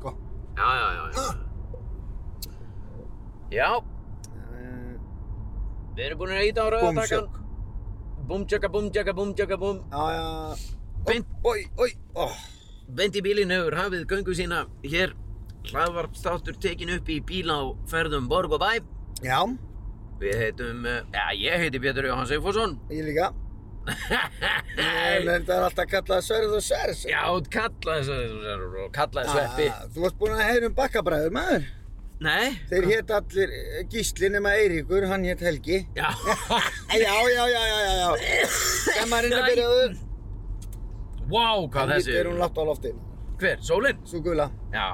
já, já, já, já. Já, Eh, við erum búin að íta á rauðatakan. Búmsjökk. Búmtjöka, búmtjöka, búmtjöka, búm. Já, já. Beint. Oj, oj, oh. Bent í bílinn hefur hafið göngu sína hér. Hlaðvarpstáttur tekin upp í bíla á ferðum Borg og Bæ. Já, Við heitum, eh, já, ég heiti Pétur Jóhann Sigfússon. ég líka. En þetta er alltaf kallað Sörð og Sörð. Já, kallaði þessu, kallaði sveppi. Ah, þú varst búinn að heyra um bakkabræður maður. Nei? Þeir hétt allir eh, Gísli nema Eiríkur, hann hétt Helgi. Já. Eh, Já, já, já, já, já, já. Stemmarinn er byrjaður. um Vá, hvað þessi Þetta er hún látt á lofti. Hver, sólinn? Svo gula. Já.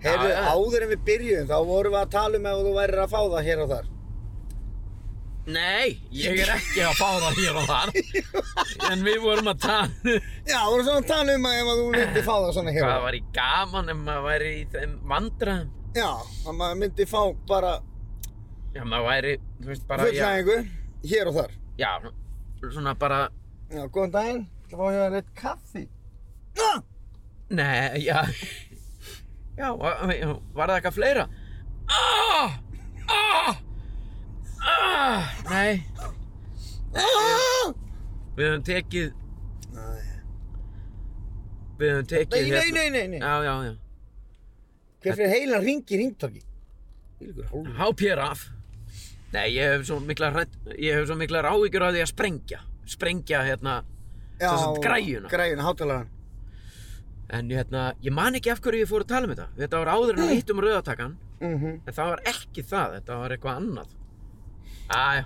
Heyrðu, Já, já. áður en við byrjuðum, þá vorum við að tala um ef þú værir að fá það hér og þar. Nei, ég er ekki að fá það hér og þar En við vorum að tala um Já, við vorum svona að tala um að ef að þú myndi fá það svona hér og Hvað þar. var í gaman ef maður væri í þeim vandræðum Já, að maður myndi fá bara Já, maður væri, þú veist, bara já, fullnægingu hér og þar. já, svona bara Já, góðan daginn. Það var hér eitt kaffi. Ah! Nei, já Já, var, var það eitthvað fleira? Ah! Ah! Ah! Nei, Ah! við höfum tekið Nei, Við höfum tekið hérna- nei, nei, nei, nei. Já, já, já Hver fyrir heilan ring í ringtöki? Ylgur hálfur. Hápjör af Nei, ég hef svo mikla hrætt Ég hef svo mikla ráhyggjur af því að sprengja Sprengja hérna Já, Sem sagt, græjuna. Græjuna, hátalagan. En hérna, ég man ekki af hverju ég fór að tala um þetta Þetta var áður en við hittum rauðatakan Mm -hmm. En það var ekki það, þetta var eitthvað annað Æja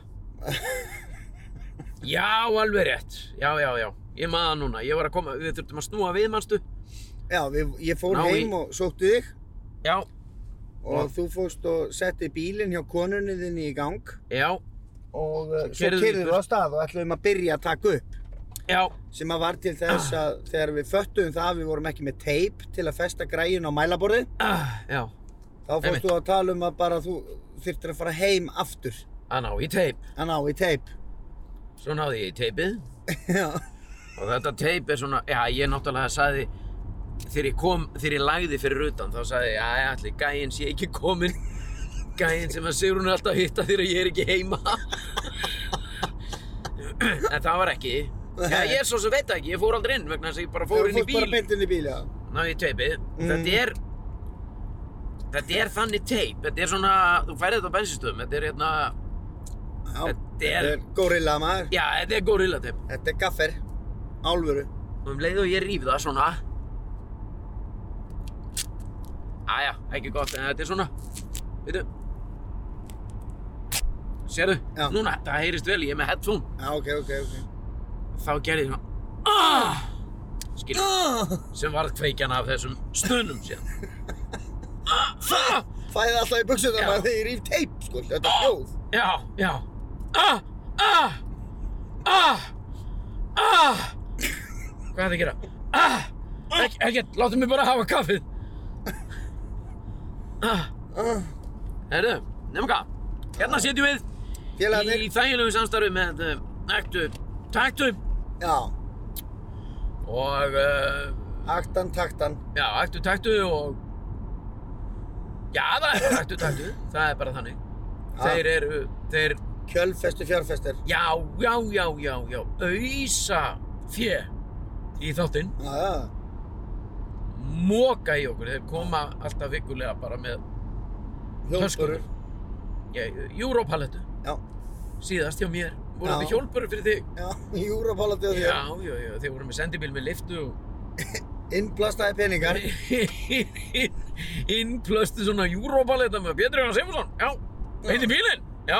Já, alveg rétt Já, já, já, ég maður það núna Ég var að koma, við þurftum að snúa við, manstu Já, við, ég fór Ná í- heim og sótti þig Já, og þú fórst og setti bílinn hjá konunni þinni í gang já, og uh, svo keyrðum við kyrðum við burt. á stað og ætluðum að byrja að taka upp já sem að var til þess Ah. að þegar við föttuðum það að við vorum ekki með teip til að festa græjun á mælaborði ah, Já, þá fórst Einmitt. þú að tala um að bara þú þyrftir að fara heim aftur að ná í teip að ná í teip Svo náði ég í teipið Já, Og þetta teip er svona, já ég náttúrulega sagði þegar ég kom, þegar ég lagði fyrir utan þá sagði ég, já allir gæinn sé ekki kominn gæinn sem að Sigrún er alltaf að hitta þegar ég er ekki heima en það var ekki já ég er svo sem veit það ekki, ég fór aldrei inn vegna þess að ég bara fór Þú inn í fórst bara bíl beint inn í bíl, já ná í teipið, Mm. þetta er þetta er þannig teip þetta er svona, þú færði þetta á bensinstöðum þetta er hérna, Já, Þetta er- er gorilla maður já þetta er gorilla teip Þetta er gaffer, álvöru og um leið og ég rýf það svona Æja, ekki gott en þetta er svona Veitu Sérðu, Já. núna, það heyrist vel, ég er með headphone Já, ok, ok, ok Þá gerði ég svona ah! Skil, sem varð kveikjan af þessum stunum síðan ah! Ah! Fæði alltaf í buksuna Já. maður þegar ég rýf teip, sko Þetta er hljóð Já, já ah! Ah! Ah! Ah! Hvað er það að gera? Ah! Ekki, ekki, láttu mig bara hafa kaffið ah! Ah, Herðu, nefnum hvað? Hérna sitjum við í Félagarnir þægilegu samstarfi með uh, Actu Taktu Já, og uh, aktan, taktan já, Actu Taktu og já, það er Actu Taktu það er bara þannig Ah. þeir eru, þeir Kjölfestu, fjárfestir já, já, já, já, já auðsa fjö í þáttinn Já, já móka í okkur, þeir koma alltaf vikulega bara með Hjólbörur já, Europaletu Já, síðast hjá mér, voru Já. þetta hjólpur fyrir þig já, Júrapalati og já, þér já, já, þeir voru með sendibíl með liftu og Innblastaði peningar innplöstu svona júróbaletta með Pétur Jóhann Sifursson já, beint í bílinn já,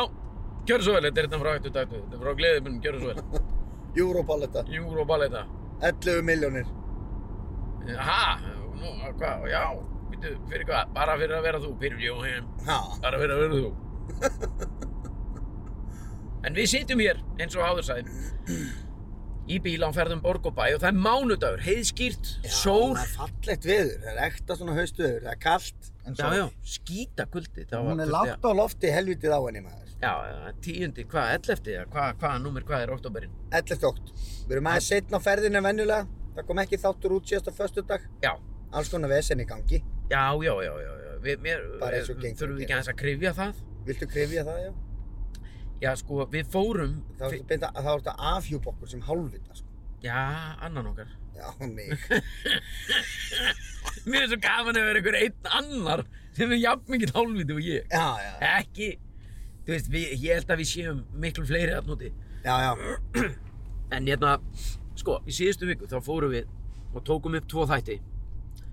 gjör svo vel, þetta er þetta frá ættu dættu þetta er frá gleðimunum, gjör svo vel Júrapalata júróbaletta 11 miljónir ha, nú, hvað, já býtu, fyrir hvað, bara fyrir að vera þú Pétur Jóhann, Já, bara fyrir að vera þú en við sitjum hér eins og áður sæði í bíl á ferðum Borg og Bæ og það er mánudagur, heiðskýrt, sól Það er fallegt veður, það er ekta svona haustveður Það er kalt en já, sól. já, skýta kuldi Hún er látt á lofti helvitið á henni maður Já, já, tíundi, hvað, ellefti, eða hvað, hvað, númer, hvað er oktoberinn? 11. okt Við erum aðeins setna á ferðinu venjulega Það kom ekki þáttur út síðast á föstudag Já, Alls konar vesen í gangi Já, já, já, já, já. Við, mér, eh, Bara eins og gengur þurfum við og ekki aðeins að krifja það? Viltu krifja það, já? Já, sko, við fórum, Þá ertu beint að- þá ertu að afhjúpa okkur sem hálfvita, sko. já, annan okkar. Já, mig. Mér er svo gaman að vera einhver einn annar sem er jafn mikill hálfviti og ég. Já, já, já, Ekki, þú veist, við, ég held að við séum miklu fleiri þarna úti. já, já, En hérna, sko, í síðustu viku þá fórum við og tókum upp tvo þætti.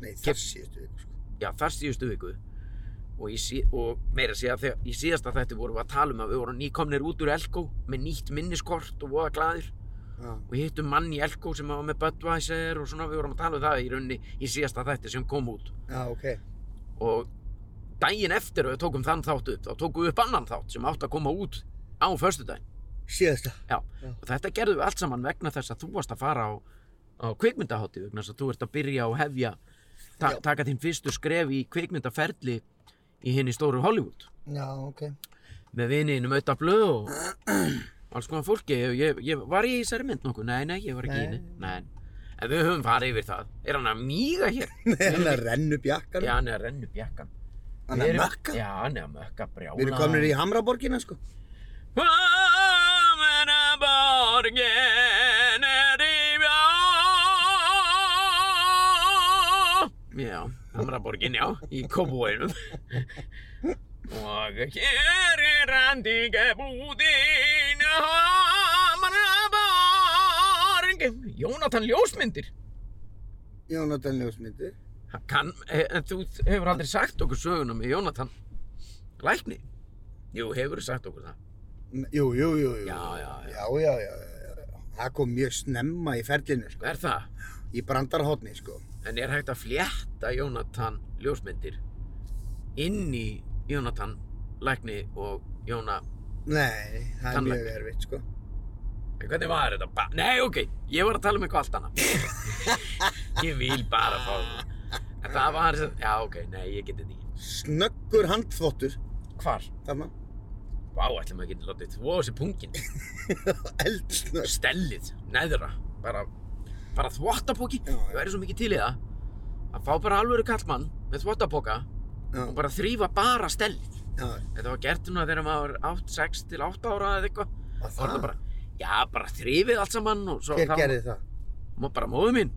nei, Kip- þar síðustu viku, sko. Já, þar síðustu viku. Og, í sí, og meira að segja þegar í síðasta þætti vorum við að tala um að við vorum nýkomnir út úr Elko með nýtt minniskort og voða glæðir. Já, og hittum mann í Elko sem var með Budweiser og svona við vorum að tala um það í rauninni í síðasta þætti sem kom út já, ok, og daginn eftir að við tókum þann þátt upp þá tókum við upp annan þátt sem átt að koma út á föstudaginn síðasta. Já. Já. og þetta gerðum við allt saman vegna þess að þú varst að fara á, á kvikmyndahátti vegna þess að þú ert að byrja og hefja ta Já. taka þín fyrstu skref í kvikmyndaferli í henni stóru Hollywood Já, ok. með viniðinu Mauta Blöð og alls konar fólki ég, ég, ég, var ég í þessari mynd nokkuð? Nei, nei, ég var ekki í Nei. henni nei. en við höfum farið yfir það er hann að míga hér? Nei, hann er að renna upp jakkan. já, hann er að renna upp jakkan Hann er að mökka. já, hann er að mökka brjála Við erum komin í Hamraborgina, sko. komin að borgin er í bjá já, Hamraborgin, já í kóbúinum Og hér er andinga búðin Hamraborg Jónatan Ljósmyndir Jónatan Ljósmyndir. Hann kann, eh, en þú hefur aldrei sagt okkur söguna með Jónatan Lækni Jú, hefur sagt okkur það Jú, jú, jú, jú. Já, já, já. Já, já, já, já, já. Það kom mjög snemma í ferlinu, sko. Er það? Í brandarhóttni, sko. En er hægt að flétta Jónatan Ljósmyndir inn í Jónatan Lækni og Jóna Nei, það er mjög Tannlæknir. erfitt, sko. En hvernig var þetta? Ba Nei, ok, ég var að tala um eitthvað allt annað. ég vil bara fá það. En það var þess að, já, ok, nei, ég geti þetta ekki. Snöggur handþvottur, Hvar? þarna. Vá, ætlum að geta látið þvó þessi pungin. Eldsnögg. Stellið, neðra, bara, bara þvottapóki. Já, já. Ég væri svo mikið til í það. Að fá bara alvöru kallmann með þvottapoka Já, og bara þrýfa bara stellið. já. Þetta var gert núna þegar maður var 8, 6 til 8 ára eða eitthvað. Að Þá var þetta það? bara, já, bara þrýfið allt saman og svo. Hver þá- gerði það? Má- Bara móðu mín.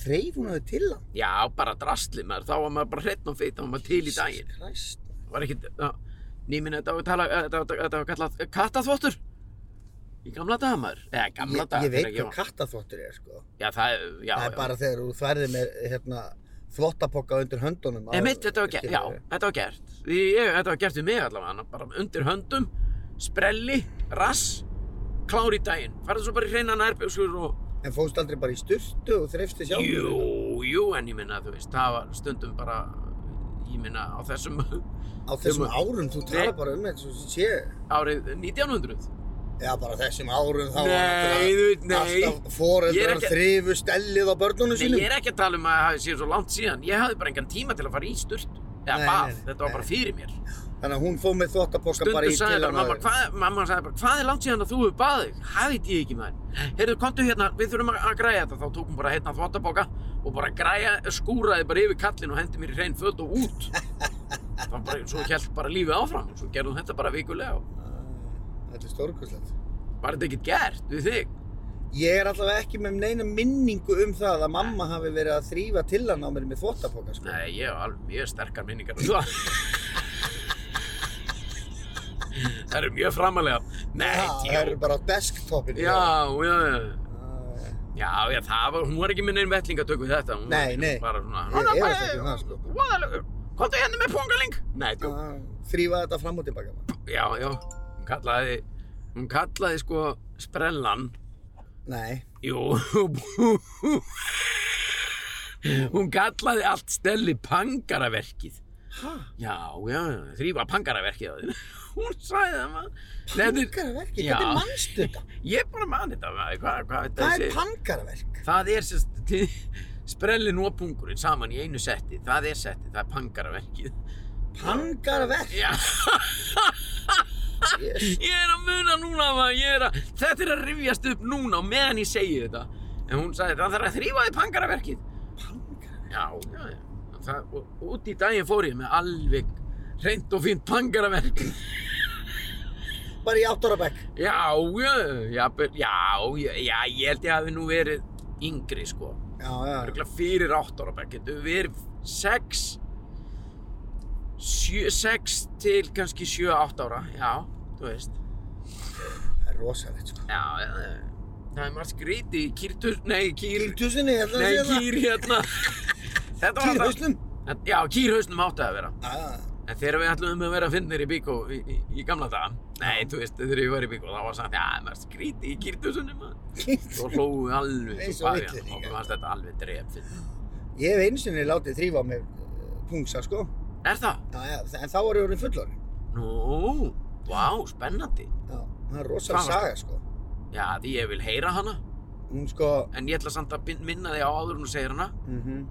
Þreif hún aðeins til hann? Já, bara drastli maður, þá var maður bara hreitn og feit, þá var maður til í daginn. Kræst. Það var ekkert, nýminn þetta var tala, þetta var, þetta var kallað eh, kattaþvottur. Í gamla daga maður, eða Ég, gamla daga. ég veit þegar hvað var- kattaþvottur er, sko. Já, það, er- já, það er já. bara þegar þú þverði með, hérna, þvottapokka undir höndunum. á- En mitt, þetta var gert, já, skilurðu. þetta var gert. Ég, ég, þetta var gert við mig allavega, bara undir höndum, sprelli, rass, klár í daginn. Farðu svo bara í hreina nærbjóskur og... En fóðst aldrei bara í sturtu og þreifstu sjálf? Jú, jú, en ég minna, þú veist, það var stundum bara, ég minna, á þessum Á þessum árum, þú tala Nei. bara um þetta svo sé. árið 1900. Já, bara á þessum árum þá var náttúrulega Nei, þú veist, nei. Alltaf Ég er foreldrar ekki- þrifu stellið á börnunum Nei, sínum. ég er ekki að tala um að það hafi séð svo langt síðan. Ég hafði bara engan tíma til að fara í sturt. Eða Nei, bað, nei, nei, þetta var bara nei. fyrir mér. Þannig að hún fóð með þvottapokka bara Stundu í sagði til bara, mamma, áður. hvað, mamma sagði bara, hvað er langt síðan að þú hefur baðið? þig? Það veit ég ekki maður. Heyrðu, komdu hérna, við þurfum að, að græja þetta. Þá tókum bara hérna þvottaboka og bara græja, skúraði bara yfir kallin og hendi mér í hrein föt og út. Það var bara, svo held bara lífið áfram og svo gerðum þetta bara vikulega. og Þetta er stórkostlegt. Var þetta ekkert gert við þig? Ég er allavega ekki með neina minningu um það að mamma hafi verið að þrýfa til hann á mér með þvottapokka, sko. Nei, ég hef alveg mjög sterkar minningar um það. Það eru mjög framalega. Nei, Já, djú. það eru bara á desktopinu. Já, já, já. Já, já. Já, já, það var, hún var ekki með neinn vettlingatöku þetta. Hún Nei, var nei. Bara svona, Ég hann er efast ekki um bara, það, sko. voðalegur. Komdu hérna með pongaling. Nei, djú. Já, Þrýfa þetta fram og tilbaka. maður. Já, já, hún kallaði, hún kallaði sko sprellan. Nei. Jú, hún kallaði allt stelli pangaraverkið. Hæ? Já, já, já, þrýfa pangaraverkið á þinn. Hún sagði það maður. Þetta er- Pangaraverk, ég hvernig Já. mannstu þetta? Ég bara mani þetta maður, hvað, hvað þetta Það sé- er pangaraverk. Það er sérst, sprellin og pungurinn saman í einu setti, það er setti, það er pangaraverkið. Pangaraverk. Já, Yes. ég er að muna núna það, ég er að, þetta er að rifjast upp núna og meðan ég segi þetta. En hún sagði, það þarf að þrýfa þið pangaraverkið. Pangaraverk. Já, já, já. það, og, og út í daginn fór ég með alveg hreint og fínt pangaraverk Bara í áttara bekk. já, já, já, já, já, ég held ég hafi nú verið yngri sko Já, já. Örgulega fyrir 8 ára bekk, getur við verið 6 7, 6 til kannski 7-8 ára, já, þú veist Það er rosalegt, sko. Já, já, já. það er margt skrítið í kýrtur, nei, kýr Kýrtusinni, ég ætla að Nei, segja það. kýr hérna Þetta var alltaf- Kýrhausnum. Já, kýrhausnum átti að vera Já, já. En þegar við ætlum að vera að finnir í bíkó í, í, í gamla daga Nei, þú veist, þegar ég var í bíkó þá var sagt, já, það er margt skrítið í kýrtusunum Svo Kýrt- hlóðum við alveg Eins svo og bara, villir, og líka. Okkur fannst þetta alveg dref Ég hef einu sinni látið þrýfa á mér eh, pungsa, sko. Er það? Já, já. En þá var ég orðin fullorinn. Nú, vá, spennandi Já. Það er rosaleg Hvað var saga, sko. Já, því ég vil heyra hana Hún, sko... En ég ætla samt að bin- minna þig á áður en þú segir hana mhm.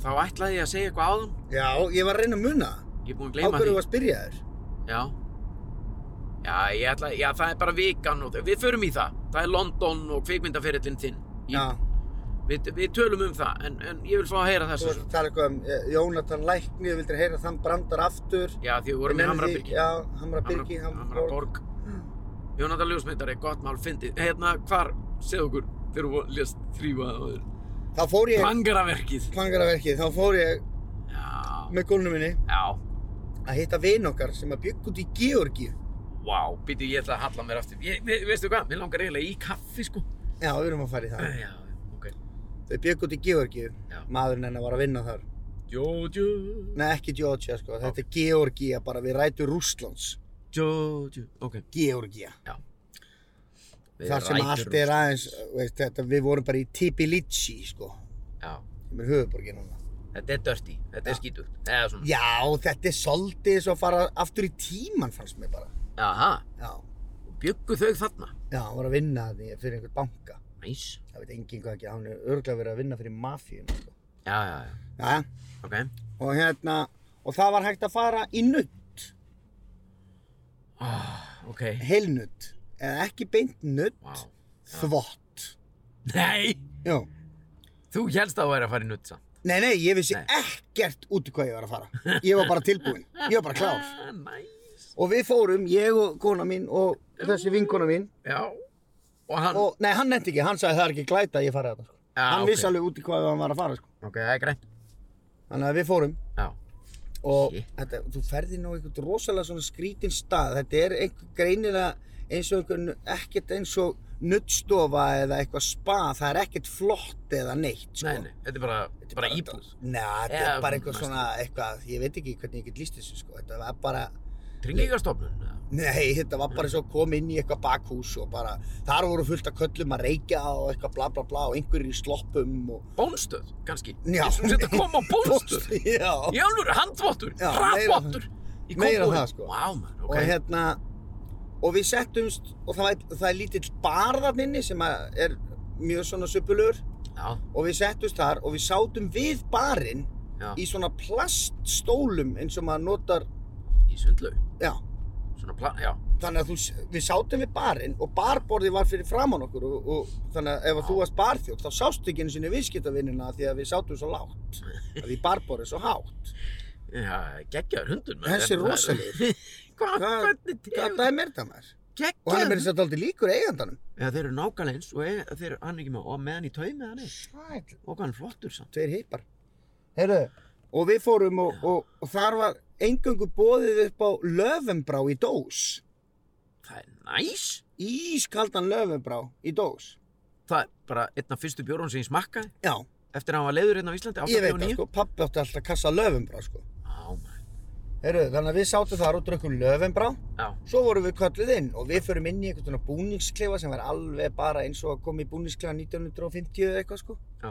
Þá ætlaði ég að segja eitthvað áður Já, ég var að reyna að muna. það. Ég er búinn að Á gleyma hverju því var að spyrja þér? Já Já, ég ætla, já, það er bara vikan og við förum í það Það er London og kvikmyndaferillin þinn Ég- Já. við, við tölum um það en, en ég vil fá að heyra Þú þessu varst að tala eitthvað um eh, Jónatan Lækni, þú vildir heyra að hann brandar aftur. Já, því við vorum í Ég nenni því- Hamrabyrgi Já, Hamrabyrgi, Hamraborg. Hamraborg Jónatan Ljósmyndari, gott mál fyndið Hérna, hvar, segðu okkur þegar þú lést þrýfa áður Þá fór ég, Pangaraverkið klangaraverkið, þá fór ég Já, með gólnum minni já, að hitta vin okkar sem að bygg út í Georgíu. vá, býtu ég ætla að halla mér aftur ég, ve- Veistu hvað, mér langar eiginlega í kaffi sko Eh, Já, við erum að fara í það. Já, ok Þau bygg út í Georgíu. Já. Maðurinn hennar var að vinna þar. Jójó, Nei, ekki Georgia, sko. Þetta er Georgía, bara við rætur Rússlands. jójó, ok Georgía. Við Þar sem rætur- um allt er aðeins, veist, þetta, við vorum bara í Tbilisi, sko. Já, Sem er höfuborgin hann. þetta er dirty, þetta er skítugt Eða svona, Já, þetta er svolítið svo að fara aftur í tíman, fannst mér bara. aha, Já. bjuggu þau þarna Já, hann var að vinna því fyrir einhvern banka. Næs, Það veit enginn hvað ekki, hann er örglega verið að vinna fyrir mafíuna, sko. já, já, já Já, Ok, og hérna, og það var hægt að fara í nutt, Ah, ok heilnutt, eða ekki beint nutt, Vá þvott. Nei, Já. þú helst að þú væri að fara í nutt samt Nei, nei, ég vissi Nei. ekkert út í hvað ég var að fara. Ég var bara tilbúinn, ég var bara klár. Ah, Næs Og við fórum, ég og kona mín og þessi vinkona mín, Já Og hann, og, nei, hann nefndi ekki, hann sagði það er ekki glæta að ég fara þetta, sko. Já, hann Ah, ok. vissi alveg út í hvað hann var að fara, sko. ok, það er greið Þannig að við fórum Já, og Shit. þetta, þú ferði ná einhvern rosalega svona skrítinn stað þetta er einhver greinilega eins og einhvern, ekkert eins og nuttstofa eða eitthvað spa það er ekkert flott eða neitt sko. nei, nei, þetta er bara, bara íbúð Nei, þetta Já, er bara eitthvað mest. svona eitthvað, ég veit ekki hvernig ég get líst þessu sko. þetta var bara, Tryggingastofnun eða? nei, þetta var bara svo kom inn í eitthvað bakhús og bara þar voru fullt af köllum að reykja og eitthvað bla bla bla og einhverjir í sloppum og Bónstöð, kannski Já. Ég sem þetta kom á bónstöð já, Í alvöru, handvottur, Já, rafvottur í meira Kópavogi. það, sko. Vá, maður, og ok hérna og við settumst og það, var, það er lítill bar þarna inni sem að er mjög svona suppulur Já, og við settumst þar og við sátum við barinn já, í, í svona plaststólum eins og maður notar sundlau já, Svona plan, já þannig að þú, s- við sátum við barinn og barborðið var fyrir framann okkur og, og þannig að ef að þú varst barþjótt þá sástu ekki einu sinni viðskiptavinnina því að við sátum svo lágt að því barborðið er svo hátt Já, geggjaður hundur maður. Þessi er Það- rosalegur. Hvað, Hvað- hvernig hvað tegum það er mér það maður og hann er mér Geggjaður þess að aldrei líkur eigandanum Já, þeir eru nákvæmlega eins og er, þeir, hann er ekki með, og með hann í taumi hann er sæl Og hvað hann er flottur samt tveir heipar Heyrðu, og við fórum og, og, og þar var engöngu bóðið upp á löfumbrá í dós Það er næs ískaldan löfumbrá í dós Það er bara einn af fyrstu bjórun sem ég smakkaði já, Eftir að hann var leiður hérna á Íslandi ég veit 89. það sko, pappi átti alltaf kassa löfumbrá sko. Á, maður. Heyrðu, þannig að við sátum þar og drukkum löfumbrá Já, svo vorum við kölluð inn og við förum inn í einhvern svona búningsklefa sem var alveg bara eins og að koma í búningsklefa 1950 eða eitthvað sko Já.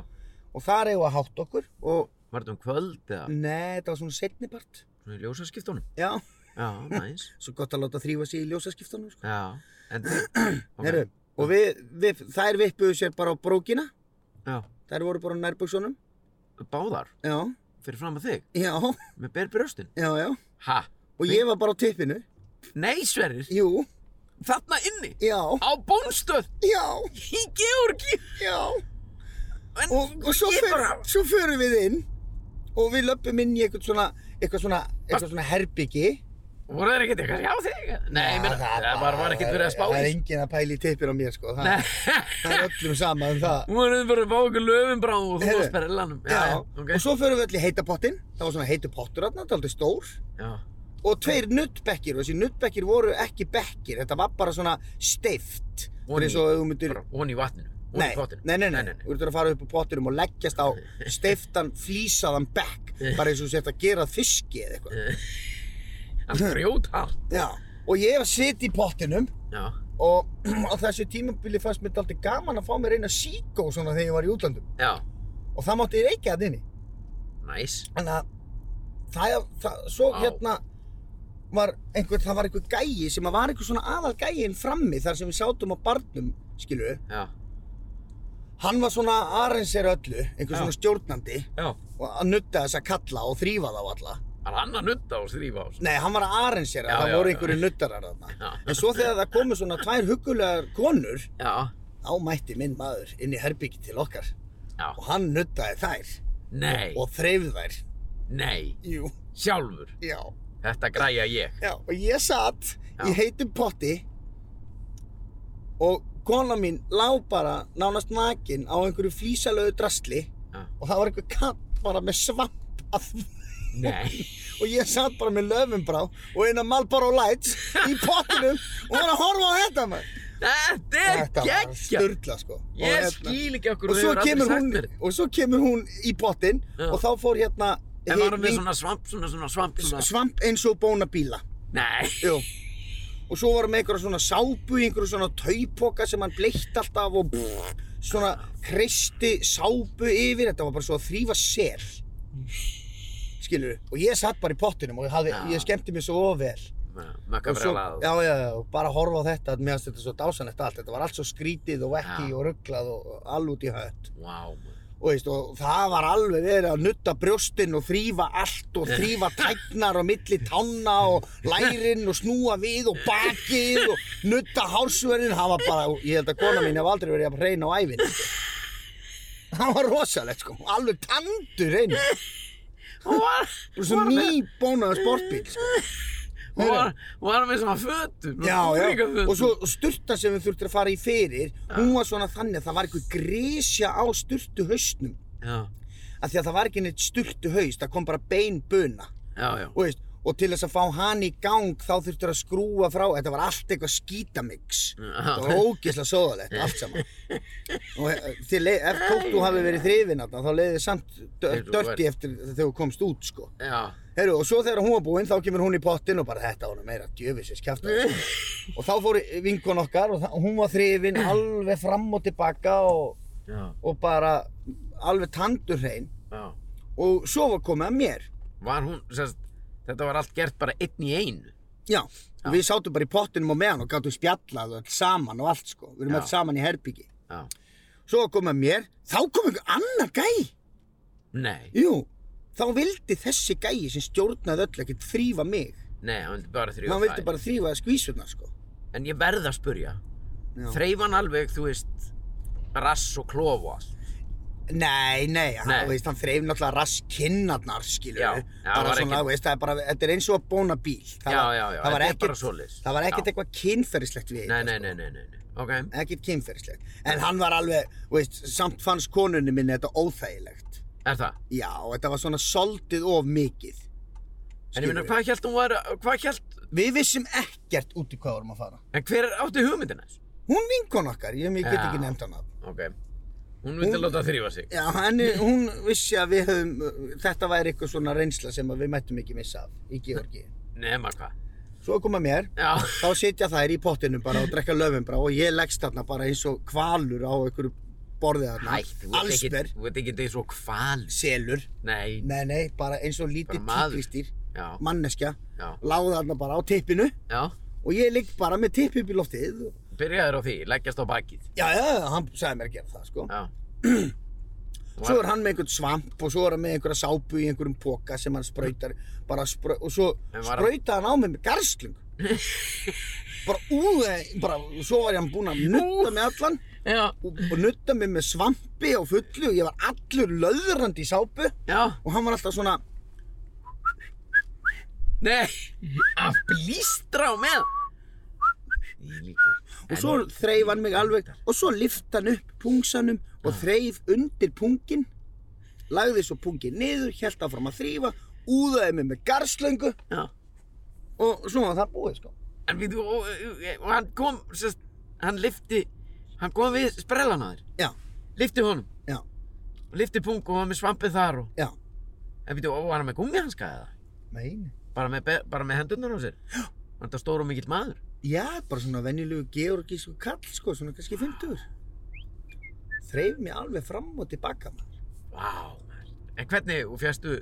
og þar eigum við að hátt okkur og var þetta um kvöld eða neð, þetta var svona setnipart svona í ljósaskiptunum já, Já, næs svo gott að láta þrýfa sig í ljósaskiptunum sko Já, en ok. Heyrðu, og við, við, þær vippuðu sér bara á brókina, Já, þær voru bara á nærbuksunum. báðar Já, fyrir fram að þig já, Með ber brjóstin já, já. Ha, Og ég var bara á tippinu. nei Sverrir Jú, Þarna inni já, Á bónstöð já, Í Georgi já. En Og, og svo, ég fer, bara svo förum við inn og við löpum inn í eitthvað svona, eitthvað svona, eitthvað svona herbyggi. Voru þeir ekkert eitthvað, já þig? Nei, ég meina, það var, var ekkert verið að spá Ah, Það er í. enginn að pæla í tippir á mér, sko. Það, Nei, það er öllum sama um það. hún var auðvitað bara að fá okkur löfum brá og þú Heyrðu. varst bara ellanum. Já, ok. og svo förum við öll í heitapottin. Það var svona heitu pottur þarna, það var aldrei stór. Já, Og tveir nuttbekkir, og þessi nuttbekkir voru ekki bekkir, þetta var bara svona steift. Það er Oní. eins og ef þú myndir... bara von í vatninu, von Nei, í pottinu. nei, nei, nei, þú ert að fara upp á pottinum og leggjast á steiftan, flísaðan bekk, bara eins og þú sért að gera að fiski eða eitthvað. Það er grjóthart. Já, og ég var sitt í pottinum Já, og á þessu tímabili fannst mér alltaf gaman að fá mér eina síkó svona þegar ég var í útlandum já, og það mátti ég reykja það inni. næs. Þannig að það, það svo Vá. hérna var einhver, það var einhver gæi sem að var einhver svona aðal gæin frammi þar sem við sátum á barnum, skilu. Já, Hann var svona arrensir öllu, einhver Já. svona stjórnandi já. og að nutta þessa kalla og þrýfa þá alla. Það er annar nutta og þrýfa á. sko. Nei, hann var að arrensera, Já, það já, voru já. einhverju nuttarar þarna. Já. En svo þegar það komu svona tvær hugulegar konur, Já, þá mætti minn maður inn í herbyggi til okkar. já. Og hann nuttaði þær Nei, og þreif þær. nei, Jú, sjálfur. já, Þetta græja ég. já. Og ég satt Já. í heitum potti og kona mín lá bara nánast nakin á einhverju flísalögu drasli Já. og það var einhver katt bara með svamp að Nei. og ég satt bara með löfumbrá og eina Marlboro Lights í pottinum og var að horfa á þetta maður. Þetta er Þetta var geggja. sturla sko. Og Ég hérna- skil ekki okkur og svo, þú hefur aldrei kemur sagt hún, mér. og svo kemur hún í pottin Já. og þá fór hérna En var hann með hin- svona svamp, svona, svona svamp, svona... svamp eins og bóna bíla. Nei. Jú. Og svo var hann með einhverja svona sápu, í einhverja svona taupoka sem hann bleitt alltaf og brrr, svona kreisti sápu yfir. Þetta var bara svo að þrýfa sel. Skilur Og ég satt bara í pottinum og ég, hafði, Já. ég skemmti mér svo vel. Mökka Og svo, brjálað. já, já, já, og bara horfa á þetta, meðan þetta er svo dásanlegt allt, þetta var allt svo skrítið og vekki Já. og rugglað og all út í hött. Vá, maður. Og, veist, og það var alveg verið að nutta brjóstinn og þrýfa allt og þrýfa tæknar og milli tanna og lærin og snúa við og bakið og nutta hálsverðin, það var bara, ég held að kona mín hef aldrei verið að reyna á ævinni. sko. Það var rosalegt sko, alveg tandur reyna, Hún var, og svo nýbónaða sportbíl sko. hún var, hún var með svona fötur. Já, já, Fötur. og svo sturtan sem við þurftum að fara í fyrir, hún var svona þannig að það var einhver grísja á sturtu hausnum. Já, Af því að það var ekki neitt sturtu haust, það kom bara bein buna. já, já. Og, veist, og til þess að fá hann í gang þá þurftum að skrúa frá, þetta var allt eitthvað skítamix. Það var ógeðslega sóðalegt, allt saman. Og eh, þið leið, ef tóttu hafi verið þrifin þarna, þá leiði þið samt dö- Heyrðu, þú dörti eftir þegar þú komst út, sko. Já, Herru, og svo þegar hún var búinn, þá kemur hún í pottin og bara þetta var nú meira djöfisins kjaftaði. sko." og þá fór vinkon okkar og það, hún var þrifin alveg fram og tilbaka og, já, og bara alveg tandur hrein. já. Og svo var komið að mér. Var hún, sérst, þetta var allt gert bara einn í einu. Já, og við sátum bara í pottinum og með hann og gáttum spjallað og allt saman og allt sko. Við erum Já. allt saman í herbyggi. Já. Svo var komið að mér, þá kom einhver annar gæi. Nei, Jú, þá vildi þessi gæi sem stjórnaði öll ekkert þrýfa mig. nei, hann vildi bara þrjú Hann vildi bara þrýfa skvísurnar sko. En ég verð að spurja, Já. þreif hann alveg, þú veist, rass og klóf og allt. Nei, nei, Nei. Hann, þú veist, hann þreif náttúrulega raskinnarnar, skilur Já, við. já, það Bara var svona, ekkert- þú veist, það er bara, þetta er eins og að bóna bíl. Það Já, var- já, já, það var þetta er ekkert- bara svoleiðis. Það var ekkert Já. eitthvað kynferðislegt við Nei, þetta, nei, sko. nei, nei, nei, nei. Ok, Ekkert kynferðislegt. En hann var alveg, þú veist, samt fannst konunni minni þetta óþægilegt. er það? Já, þetta var svona soldið of mikið. En ég meina, Skilurðu? hvað held hún var, hvað held, Við vissum ekkert út í hvað vorum að fara. en hver átti hugmyndina þessu? Hún vinkon okkar, ég, ég get Já. ekki nefnt hana. Ok, hún vildi Hún- láta þrýfa sig. Já, henni, hún vissi að við höfum, þetta væri eitthvað svona reynsla sem að við mættum ekki missa af í Georgi. Nema hvað. Svo kom að mér, Já, þá sitja þær í pottinum bara og drekka löfum bara og ég leggst þarna bara eins og kvalur á einhverju borðið þarna hætt, þú ert ekki, allsber, þú ert ekki eins og kval. selur Nei, nei nei, bara eins og lítið Bara maður. tíkristýr já, manneskja, já, láða þarna bara á tippinu já. og ég ligg bara með tipp upp í loftið og- Byrjaður á því, leggjast á bakið. já já, hann sagði mér að gera það sko Já. svo er hann með einhvern svamp og svo er hann með einhverja sápu í einhverjum póka sem hann sprautar bara sprau, og svo En var hann- sprautaði hann á mig með garskling bara úð bara, svo var hann búinn að nutta með allan já, og, og nutta mig með svampi á fullu og ég var allur löðrandi í sápu já, og hann var alltaf svona nei, að blístra á með. og svo þreif hann mig alveg og svo lift hann upp pungsanum og þreif undir pungin lagði svo pungin niður, held áfram að þrýfa úðaði mig með garslöngu Já, og svo var það búið sko en við, og, og, og hann kom, sérst, hann lifti, hann kom við sprellan á þér, já, lifti honum, já, lifti pung og var með svampið þar og, já, en við, og var hann með gummihanska eða? meini Bara með, be- bara með hendurnar á sér? Já. Var þetta stór og mikill maður? já, bara svona venjulegu georgísku kall sko, svona kannski 50 þreif mig alveg fram og tilbaka maður Vá, maður. En hvernig, og fjastu,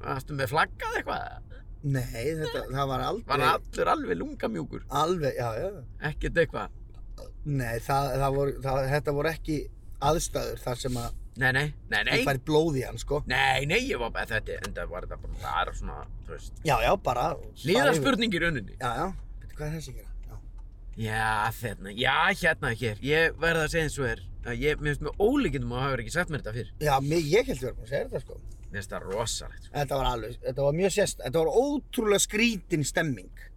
varstu með flaggað eitthvað? nei, þetta, það var Var aldrei allur alveg lungamjúkur? alveg, já, já Ekkert eitthvað? Nei, það, það voru, það, þetta voru ekki aðstæður þar sem að Nei, nei, nei, nei. ég fær blóð í hann, sko. Nei, nei, ég var bara, þetta, enda var þetta bara, bara svona, þú veist, Já, já, bara... bara yfir. hlýðarspurningir unni. Já, já, veitu hvað er þessi að gera? Já. Já, þérna, já, hérna, hér, ég verð að segja eins og er, að ég, mér finnst með ólíkindum að hafa ekki sagt mér þetta fyrr. Já, mér, ég held verið að segja þetta, sko. Mér finnst það rosalegt, sko. Þetta var alveg, þetta var mjög sérst, þetta var ótrúlega skrítin stemming.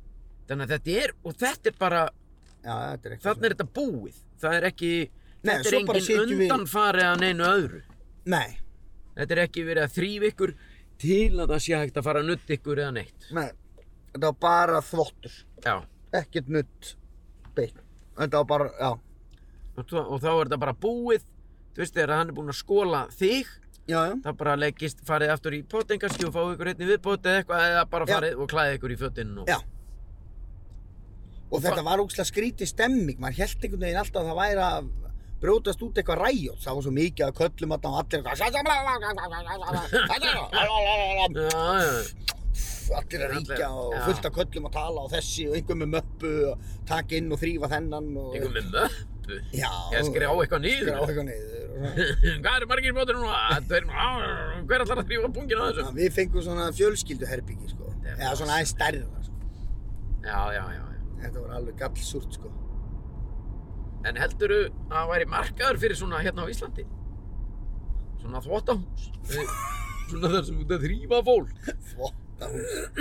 Þannig að þetta er, og þetta er bara, Já, þetta er eitthvað... Þannig er þetta búið. Það er ekki, Nei, þetta er svo bara engin sitjum við- undanfari að neinu öðru. Nei, Þetta er ekki verið að þrýfa ykkur til að það sé hægt að fara að nutta ykkur eða neitt. nei, þetta var bara þvottur, Já, ekkert nutt beinn. Þetta var bara, já, og, svo- og þá er þetta bara búið. Þú veist, þegar hann er búinn að skóla þig, já, já. þá bara leggist, farið aftur í potin kannski og fáið ykkur einni viðbót eða eitthvað eða bara Já. farið og klæðið ykkur í fötinn og... Já. Og þetta var ógslag skrítið stemming, maður held einhvern veginn alltaf að það væri að brjótast út eitthvað ræjót, það var svo mikið að köllum að og allir eitthvað Já, já, allir að ríkja og fullt af köllum að tala og þessi og einhver með möppu og taka inn og þrýfa þennan og ykkur með möppu. Já, Ég skrá eitthvað skrá niður. eitthvað niður og svona. Hvað eru margir í bótinu núna? Tveir- Á, Hver ætlar að þrýfa pungin á þessu? Þannig að Við fengum svona fjölskylduherbyggi sko, Þetta er eða svona aðeins stærra sko. Já, já, já, já. Þetta var alveg gallsúrt sko. En heldurðu að það væri markaður fyrir svona hérna á Íslandi? Svona þvottahús? Nei, svona þar sem þú ert að þrýfa fólk? Þvottahús.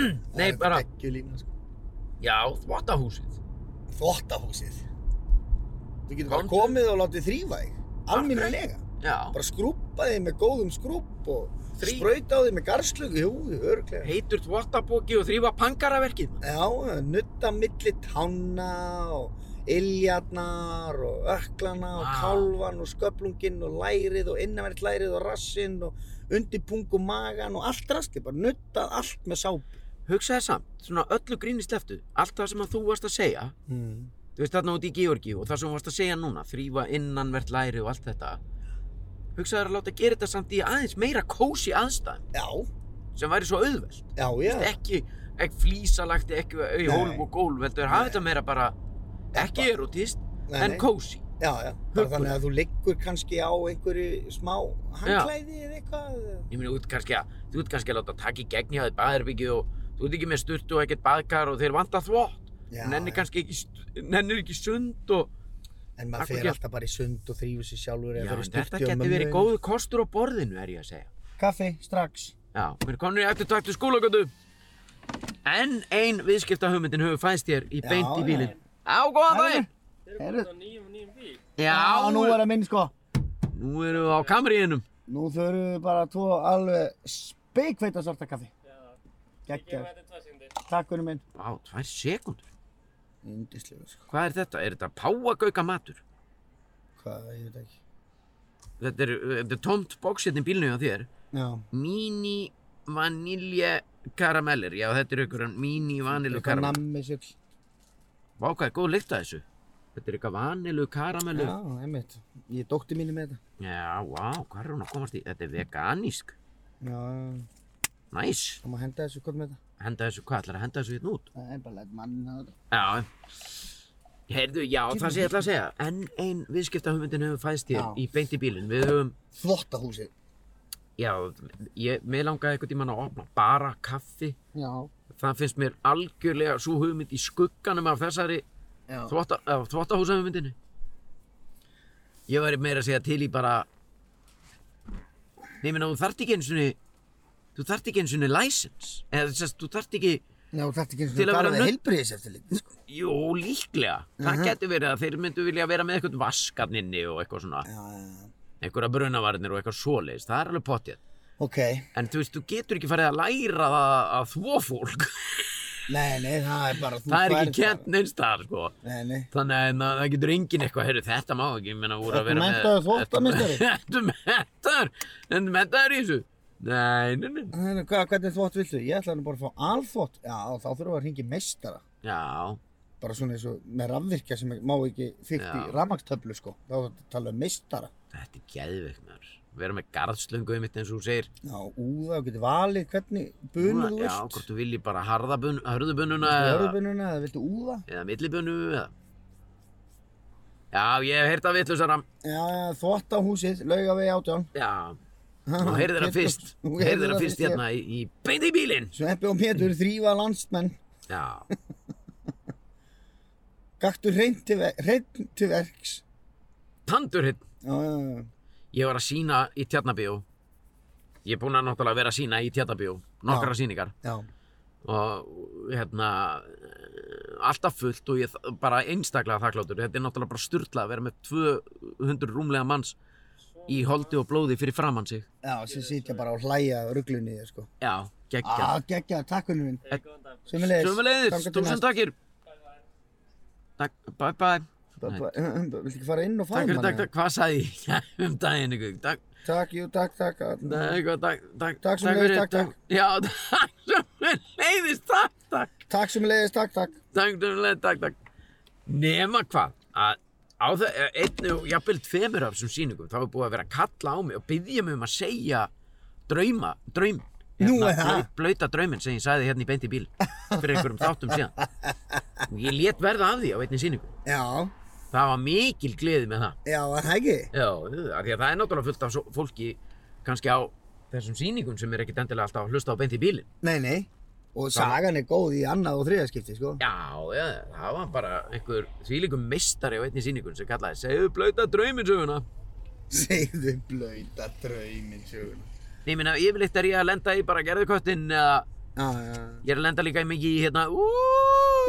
Nei, bara- Ekki, sko. Já, þvottahúsið. þvottahúsið þú getur bara Komdu. komið og látið þrýfa þig alminnilega, Já. bara skrúpa þig með góðum skrúp og Þrí- sprauta á þig með garslug jú, örglega Heitur þvottaboki og þrýfa pangaraverkið? maður. já, nutta milli tána og iljarnar og öklana og Vá. kálvan og sköplunginn og lærið og innanverð lærið og rassinn og undirpung og magan og allt rastli, bara nuttað allt með sápu Hugsaðu samt, svona öllu gríni sleftu, allt það sem að þú varst að segja, mm. þú veist þarna úti í Georgíu og það sem þú varst að segja núna, þrýfa innanvert læri og allt þetta. Hugsaðu að láta gera þetta samt í aðeins meira kósi aðstæðum já, sem væri svo auðvelt. já, já ekki, ekki flísalagt ekki í Nei. hólf og gólf heldur hafa þetta meira bara ekki erotist Nei, en nei. kósi Já, já, bara Huggur. þannig að þú liggur kannski á einhverju smá handklæði eða eitthvað. ég meina þú ert kannski að þú ert kannski að láta taka í gegn hjá þér baðherbyggið og þú ert ekki með sturt og ekkert baðkar og þeir vanta þvott Já, nennir já. kannski ekki st- nennir ekki sund og En maður Akkur fer gert. alltaf bara í sund og þrýfur sér sjálfur já, eða en fyrir styrti þetta getur verið góðu kostur á borðinu er ég að segja Kaffi, strax. já, við erum komin í eftirtaktu skólagötu en ein viðskipta hefur fæðst þér í Já, beint í já. bílinn á, góðan daginn Þeir eru Heyrðu. búin að nýjum og nýjum bíl. já, nú er það minn sko. nú erum við á kamriðinum Nú þurfum við bara tvo alveg speikveita svarta kaffi. Já, ég gefa Gekkjað. þetta tvær sekundir. Takk, unni minn. á, tvær sekundur Indislega sko. Hvað er þetta? Er þetta páagauka matur? Hvað, ég veit ekki. Þetta er, þetta er tomt bóks hérna í bílnu hjá þér. Já. Mini vanilje karameller. Já, þetta er einhverjan mini vanilu Eitthvað karamell. nammi sill. Vá, hvað er góð lykt að þessu? Þetta er eitthvað vanilu karamellu. Já, einmitt. Ég dótti mínu með þetta. Já, vá, hvað er hún að komast í? Þetta er veganísk. Já, Næs. það má henda þessu kvöld með þetta. Henda þessu, hvað ætlar að henda þessu hérna út? Það er bara lætt mann að þetta. Já. Heyrðu, já, það sé ég ætla að segja. Enn ein viðskiptahumundin hefur fæðst hér Já. í beint í bílinn. Við höfum Þvottahúsið. Já, ég, mér langaði einhvern tímann að opna bara kaffi. Já. Það finnst mér algjörlega svo hugmynd í skugganum af þessari Já. þvotta, þvottahúsafmyndinni. Ég væri meira að segja til í bara Nei, ég meina, þú þarft ekki einu sinni Þú þarft ekki einu sinni license Eða þess að þú þarft ekki Já, þú þarft ekki eins Til og að bara vera við nudd- heilbriðis eftir líka sko. Jú, líklega Það Mhm. getur verið að þeir myndu vilja vera með eitthvað vaskarninni og eitthvað svona Já, já, já. einhverja brunavarnir og eitthvað svoleiðis það er alveg pottið Ok, en þú veist, þú getur ekki farið að læra það að þvó fólk nei, nei, það er bara þú það er færð ekki kent neins þar sko bara- Nei, nei þannig að na- það getur enginn eitthvað heyrðu, þetta má ekki, ég meina voru að Ertu vera með menntaður þvottameistari? Ertu mentaður, ertu mentaður í þessu Nei, nei, nei Nei, nei, Hvað, hvernig þvott viltu? Ég ætla nú bara að fá alþvott Já, þá þurfum við að hringi meistara Já, Bara svona eins og með rafvirkja sem má ekki fyrkt í Já. rafmagstöflu sko Þá þarf að tala um meistara þetta er geðveiknar Við erum með garðslöngu einmitt eins og þú segir Já, úða, þú getur valið hvernig bunur þú Já, veist hvort þú vilji bara harðabun, harðubununa eða, Hörðbununa eða viltu úða eða millibunu eða. Já, ég hef heyrt af vitlusara Já, þvott á húsið, lauga við átján Já, Þú heyrðir það fyrst, Þú þú heyrðir það heyrðir það fyrst fyrst, hérna. hérna Mm. í, í beint í bílinn. Sveppi og Pétur þrýfa landsmenn Já, Gaktu hreint til, ver hreint til verks tandur hitt. Já, já, já. Ég var að sína í Tjarnabíó. Ég er búinn að náttúrulega vera að sína í Tjarnabíó, nokkra sýningar. já, Og hérna, eh, alltaf fullt og ég þ- bara einstaklega þakkláttur. Þetta er náttúrulega bara styrla að vera með 200 rúmlega manns í holdi og blóði fyrir framann sig. já, sem sitja bara og hlæja ruglunni í þér sko Já, geggjað. Á, geggja, takk hvernig minn Hey, góðan dag. Sumulegis Sjöfulegðis, túsund takkir. Takk, bye bye. Viltu ekki fara inn og Takk faðma fyrir, takk, takk, hvað sagði ég Já, um daginn ykkur? Takk, Takk, jú, takk, takk allan. Nei, eitthvað, takk, takk, Takk sömuleiðis, fyrir, takk, takk. Já, takk sem leiðist, takk, takk, Takk sumulegis, takk, takk takk sem leiðist, takk, takk. Nema hvað, að á það, einn og jafnvel tveimur af þessum sýningum, þá er búið að vera að kalla á mig og byggja mig um að segja drauma, draum, Nú er það. blau- blauta drauminn sem ég sagði hérna í beint í bíl fyrir einhverjum þáttum síðan. Og ég lét verða af því á einni sýningu. Já, Það var mikil gleði með það. já, var það ekki? Já, af því að það er náttúrulega fullt af svo- fólki kannski á þessum sýningum sem er ekkit endilega alltaf að hlusta á beint í bílinn. Nei, nei Og sagan er góð í annað og þriðaskipti, sko Já, já, það var bara einhver þvílíkum meistari á einni sýningun sem kallaði Segðu blauta drauminsöguna Segðu blöyta drauminn sjögun Nei, ég minna, yfirleitt er ég að lenda í bara gerðuköttin eða Já, já, ég er að lenda líka í mikið í hérna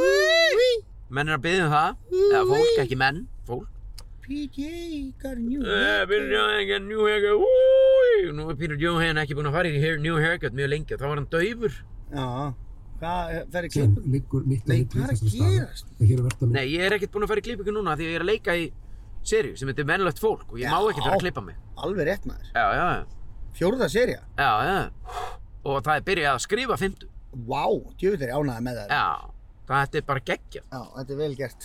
Úúúúí Menn er að byggja um það, eða fólk, ekki menn, fólk PJ got a new Eh, Peter Johan got a new haircut, úúúúí Nú er Peter Johan ekki búinn að fara í hair, new haircut mjög lengi og þá var hann daufur Já, hvað fer í sem klipp? liggur mitt á Nei, milli hvað er að þessara staða. gerast? En hér er verðt að Nei, ég er ekkert búinn að fara í klippingu núna af því að ég er að leika í seríu sem heitir Venlegt fólk og ég má Já. ekkert vera að klippa mig Alveg rétt maður Já, já, já Fjórða serja Já, já. Og það er byrjað að skrifa fymtu. Vá, djöfull er ég ánægði með það Já. Það er bara geggjað. Já, þetta er vel gert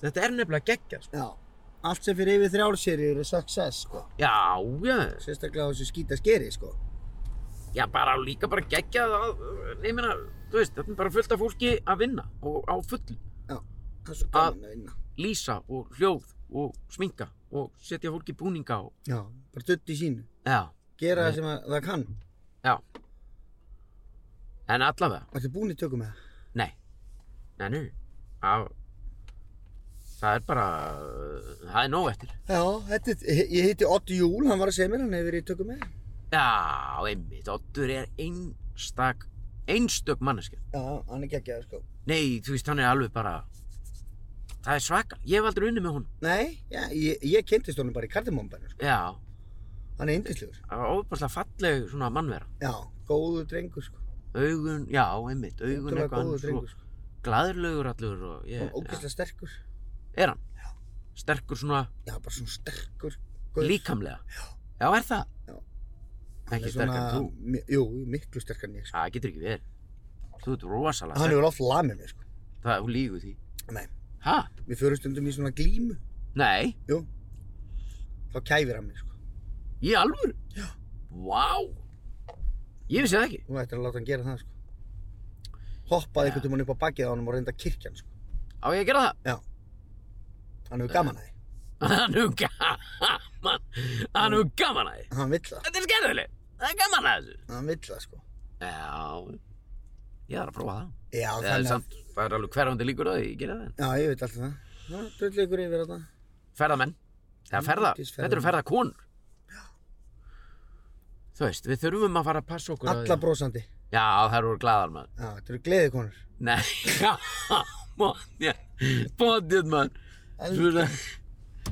Þetta er nefnilega geggjað. sko. Já Allt sem fyrir yfir þrjár serjur er success, sko Já, já. Sérstaklega á þessu skýta skeri, sko Já, bara líka bara geggjað að, ég meina, þú veist, þetta er bara fullt af fólki að vinna og á fullu. Já, það er svo gaman að vinna Lýsa og hljóð og sminka og setja fólki í búninga og, Já, bara dutt í sínu já, Gera það sem að, það kann já. En allavega, Þetta er búin í tökum með nei, nei, nei, já, það er bara, það er nóg eftir. það Já, þetta er, ég hitti Otti Júl, hann var að segja mér, hann hefur verið í tökum með Já, einmitt, Oddur er einstak, einstök manneskja. Já, hann er geggjaður, sko Nei, þú veist, hann er alveg bara, það er svaka, ég hef aldrei unni með hún. Nei, já, ég, ég kynntist honum bara í kardimómbænum, sko Já, Hann er yndislegur það var óbærslega falleg svona mannvera. Já, góðu drengur, sko Augun, já, einmitt, augun Ótrúlega eitthvað góður annars drengur, og sko glæðurlegur allur og ég, Og ógeðslega sterkur er hann? Sterkur svona Já, bara svona sterkur gaur. líkamlega. Já. er það? Já. Hann Ekki er sterkur en þú. mi- Jú, miklu sterkar en ég, sko Já, það getur ekki verið. Þú ert rosalega Hann sterkur. hefur oft lamið mig, sko Það, hún lígur því. Nei, Ha? við förum stundum í svona glímu Nei, Jú Þá kæfir hann mig, sko í alvöru? Já. Vá. Ég vissi það ekki. Þú ættir að láta hann gera það, sko Hoppaði einhvern tímann upp á bakið á honum og reynda kirkjan, sko Á ég að gera það? Já Hann hefur gaman að því Hann er gaman, hann er gaman að því. Hann vill það Þetta er skemmtilegt, það er gaman að þessu. Hann vill það, sko Já, ég þarf að prófa það. Já, Það er þannig að samt, það er alveg hverfandi líkur að ég gera það. Já, ég veit alltaf það Drull ykkur yfir þetta Ferðamenn, Eða ferða, Samkeppnisferðamenn. þetta eru ferða konur. Þú veist, við þurfum að fara að passa okkur Alla á því. brosandi. Já, það eru glæðar maður. Já, þetta eru gleðið konur. Nei, já, bóttið, bóttið maður. Þú veist,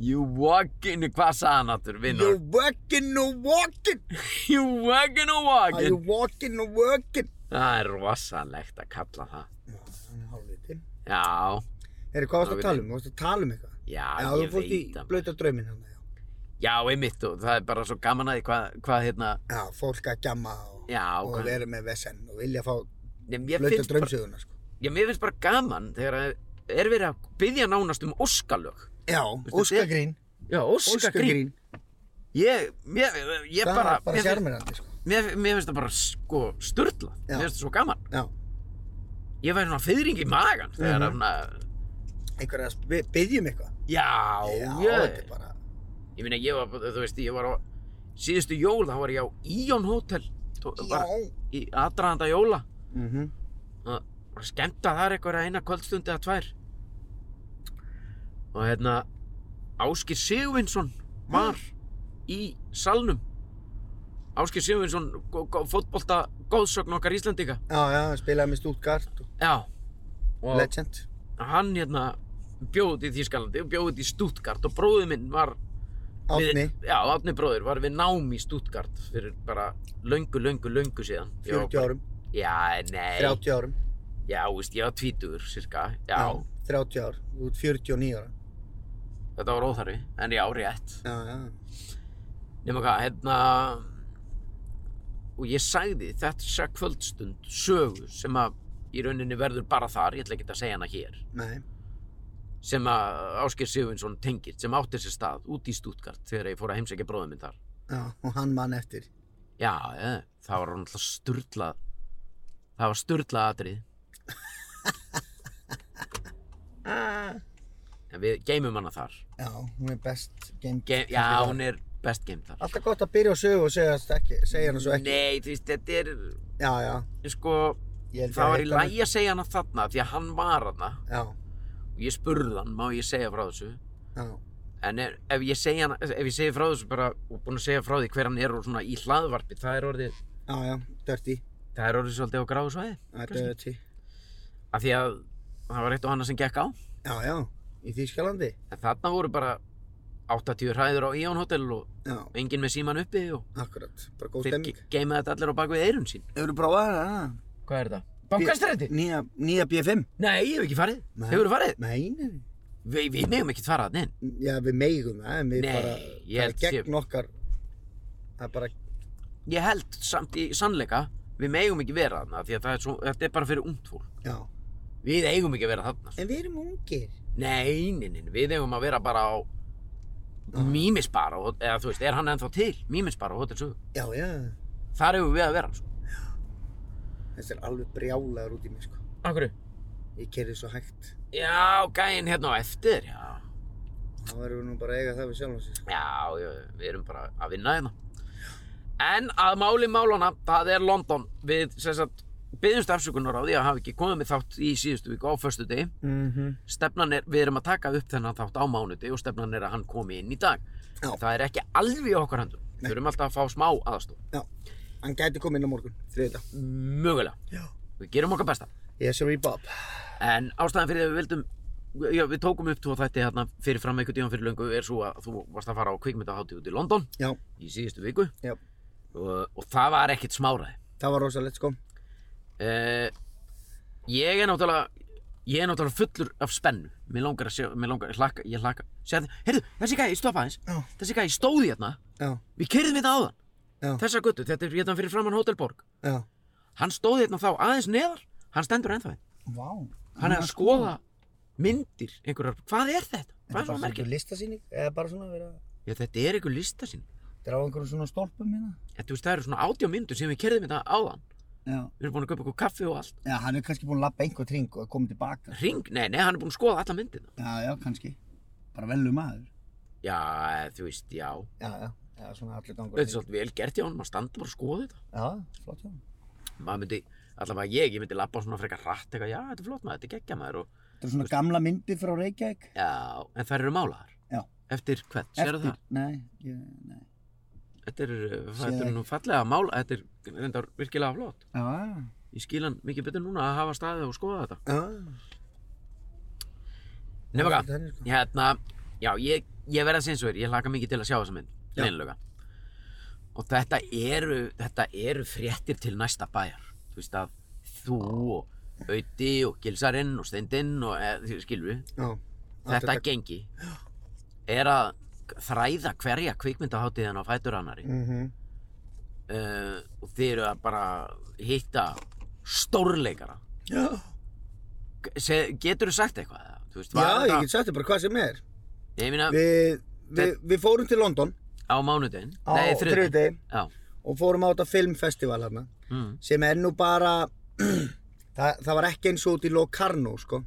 you walking, hvað sagði hann aftur, You vinnur? working or walking? You walking and Are you walking. walking or working? Það er rosalegt að kalla það. Hann er hálfviti. Já, Herri, hvað varst Já, að við- tala um? Þú varst að tala um eitthvað? já, Já, ég þú veit fórst í það. maður. blöta drauminn hann. Já. Já, einmitt og það er bara svo gaman að því hvað, hvað hérna, já, fólk að gjamma og, já, og hvað. vera með vesen og vilja fá Nei, mér blöta finnst, bara, draumsöguna, sko. já, mér finnst bara gaman þegar að er verið að byggja nánast um óskalög. Já, þetta er- óskagrín. Já, óskagrín. Óskagrín. Ég, mér, ég Það bara, er bara mér, finnst- sérmennandi, sko. mér, mér finnst það bara sko störla. Já. Mér finnst það svo gaman. Já. Ég væri svona fyrring í magan þegar að Mhm. svona, Einhver að sp- byggjum eitthvað. já, þetta ég, er bara... ég meina ég var, þú veist, ég var á síðustu jól, þá var ég á Íon Hotel. Já. Í aðdraðanda jóla. Mhm. og bara skemmta þar einhverja eina kvöldstundi eða tvær og hérna Áskir Sigvinsson var í salnum Áskir Sigvinsson fótbolta góðsögn okkar Íslandika Já, já, hann spilaði með Stuttgart og já og Legend. hann hérna bjóð út í Þýskalandi og bjóð út í Stuttgart og bróði minn var Átni. við, já, Átni bróðir var við nám í Stuttgart fyrir bara löngu, löngu, löngu síðan Ég var 40 árum, bara- já, nei, 30 árum, já, veist, ég var tvítugur cirka, já. 30 ár, þú ert 49 ára. Þetta var óþarfi, en já, rétt. Já, já, Nefnum hvað, hérna... Og ég sagði þetta kvöldstund sögu sem að í rauninni verður bara þar, ég ætla ekki að segja hana hér, nei, sem að Ásker Sigurvinsson tengir, sem átti sér stað út í Stuttgart þegar ég fór að heimsækja bróðum minn þar. já, og hann mann eftir. Já, ja, það var náttúrulega sturla, það var sturla atrið. Ah. En við geymum hana þar. Já, hún er best geimd. Ge já, hún er best geym þar. Alltaf gott að byrja á sögu og segja, ekki, segja hana svo ekki. Nei, þú veist, þetta er, Já, já, sko, ég held það var í hitt lægi að segja hana þarna, því að hann var hana. Já, og ég spurði hann, má ég segja frá þessu já, en ef, ef ég segja hann, ef ég segja frá þessu bara og búinn að segja frá því hver hann er og svona í hlaðvarpi það er orðið, já, já, dirty, það er orðið svolítið á gráðu svæði já, kannski. dirty. af því að það var eitt og annað sem gekk á Já, já, í Þýskalandi. en þarna voru bara 80 hræður á Íon Hotel og Já, enginn með síman uppi og akkurat, bara góð þeir stemming. geimaði þetta allir á bakvið eirun sín Hefur þú prófað það? hvað er þetta? Bankastræti? Nýja, nýja B5? Nei, ég hef ekki farið Nei. hefur farið? Nei, nei, nei. Vi, við megum ekki fara þannig Já, við megum það, en við Nei, bara, ég það er held sé- gegn okkar, það er bara, ég held samt í sannleika við megum ekki vera þarna því að það er svo, þetta er bara fyrir ungt fólk já. við eigum ekki að vera þarna sko. En við erum ungir. Nei, nei, nei, við eigum að vera bara á Mímisbar og, eða þú veist, er hann ennþá til Mímisbar og Hotel Sögu Já, já, Þar eigum við að vera sko. þessi er alveg brjálaður út í mig, sko. Akkur? Ég kerði svo hægt. Já, gæinn hérna á eftir Já, Þá verðum við nú bara að eiga það við sjálfum sér, sko. já, já við erum bara að vinna hérna En að máli málana, það er London Við, sem sagt, byggjumst afsökunar á því að hafa ekki komið með þátt í síðustu viku á föstu degi Mhm. Stefnan er, við erum að taka upp þennan þátt á mánuði og stefnan er að hann komi inn í dag Já. Það er ekki alveg í okkar hendur Við erum alltaf að fá smá aðstof Já, hann gæti komið inn á morgun, þriðdag. Mögulega Já. Við gerum okkar besta Yes, sir, Bob. En ástæðan fyrir því að við vildum Já, við tókum upp tvo þætti hérna fyrir fram einhvern tíðan fyrir löngu er svo að þú varst að fara á kvikmyndahátíð út í London Já, í síðustu viku já. og, og það var ekkert smáraði. Það var rosalegt, sko. Eh, ég er náttúrulega ég er náttúrulega fullur af spennu. Mér langar að sjá, mér langar, ég hlakka, ég hlakka. Sérðu, heyrðu, þessi gæi, stoppa aðeins. Já. Þessi gæi stóði hérna. Já, Við keyrðum hérna áðan. Já. Þessa guttu, þetta er hérna fyrir framann Hótelborg. já. Hann stóði hérna þá aðeins neðar. Hann stendur ennþá hérna. Vá. Hann er að skoða myndir einhverjar. Hvað er þetta? Hvað Bara er svona svona merkilegt? einhver listasýning, eða bara svona verið að Já, þetta er einhver lista sín. draga einhverjum svona stólpum hérna. En þú veist, það eru svona átjá myndur sem við kerðum þetta áðan. Já. Við erum búin að köpa okkur kaffi og allt. Já, hann er kannski búinn að lappa einhver tring og komið tilbaka. Ring, nei, nei, hann er búin að skoða alla myndina. Já, já, kannski. Bara velu maður. Já, eh, þú veist, já. Já, já. Já, svona allir gangur. Þetta er svolítið vel gert hjá hann, maður standa bara að skoða þetta. Já, flott hjá. Maður myndi, allavega ég, ég myndi labba á svona frekar rætt eitthvað, já, þetta er flott maður, þetta er geggja maður og, Þetta er svona gamla myndir frá Reykjavík. já, en þær eru málaðar. Já. Eftir hvern, sérðu það? Nei, ég, nei. Þetta er, uh, Sé þetta er það nú fallega mál, þetta er reyndar virkilega flott. Já, já. Ég skil hann mikið betur núna að hafa staðið og skoða þetta. Já. Nefna hvað? Þetta er sko- Hérna, já, ég, ég verða sinns og er, ég hlaka mikið til að sjá þessa mynd, Já. leinlega. Og þetta eru, þetta eru fréttir til næsta bæjar. Þú veist að þú og Auði og Gilsarinn og Steindinn og e, þið skilur við, Já. þetta gengi er að þræða hverja kvikmyndaháttiðan á fætur annari. Mm. Mhm. og þið eru að bara hitta stórleikara. Já, Getur Getur þú sagt eitthvað? eða? Þú veist, var já ég þetta- get sagt þér bara hvað sem er. Ég meina, Við, við, við fórum til London á mánudeginn. á Nei, þriðjudaginn. þriðdegi Já. og fórum á þetta filmfestival hérna Mm. sem er nú bara, það, það var ekki eins og út í Locarno sko.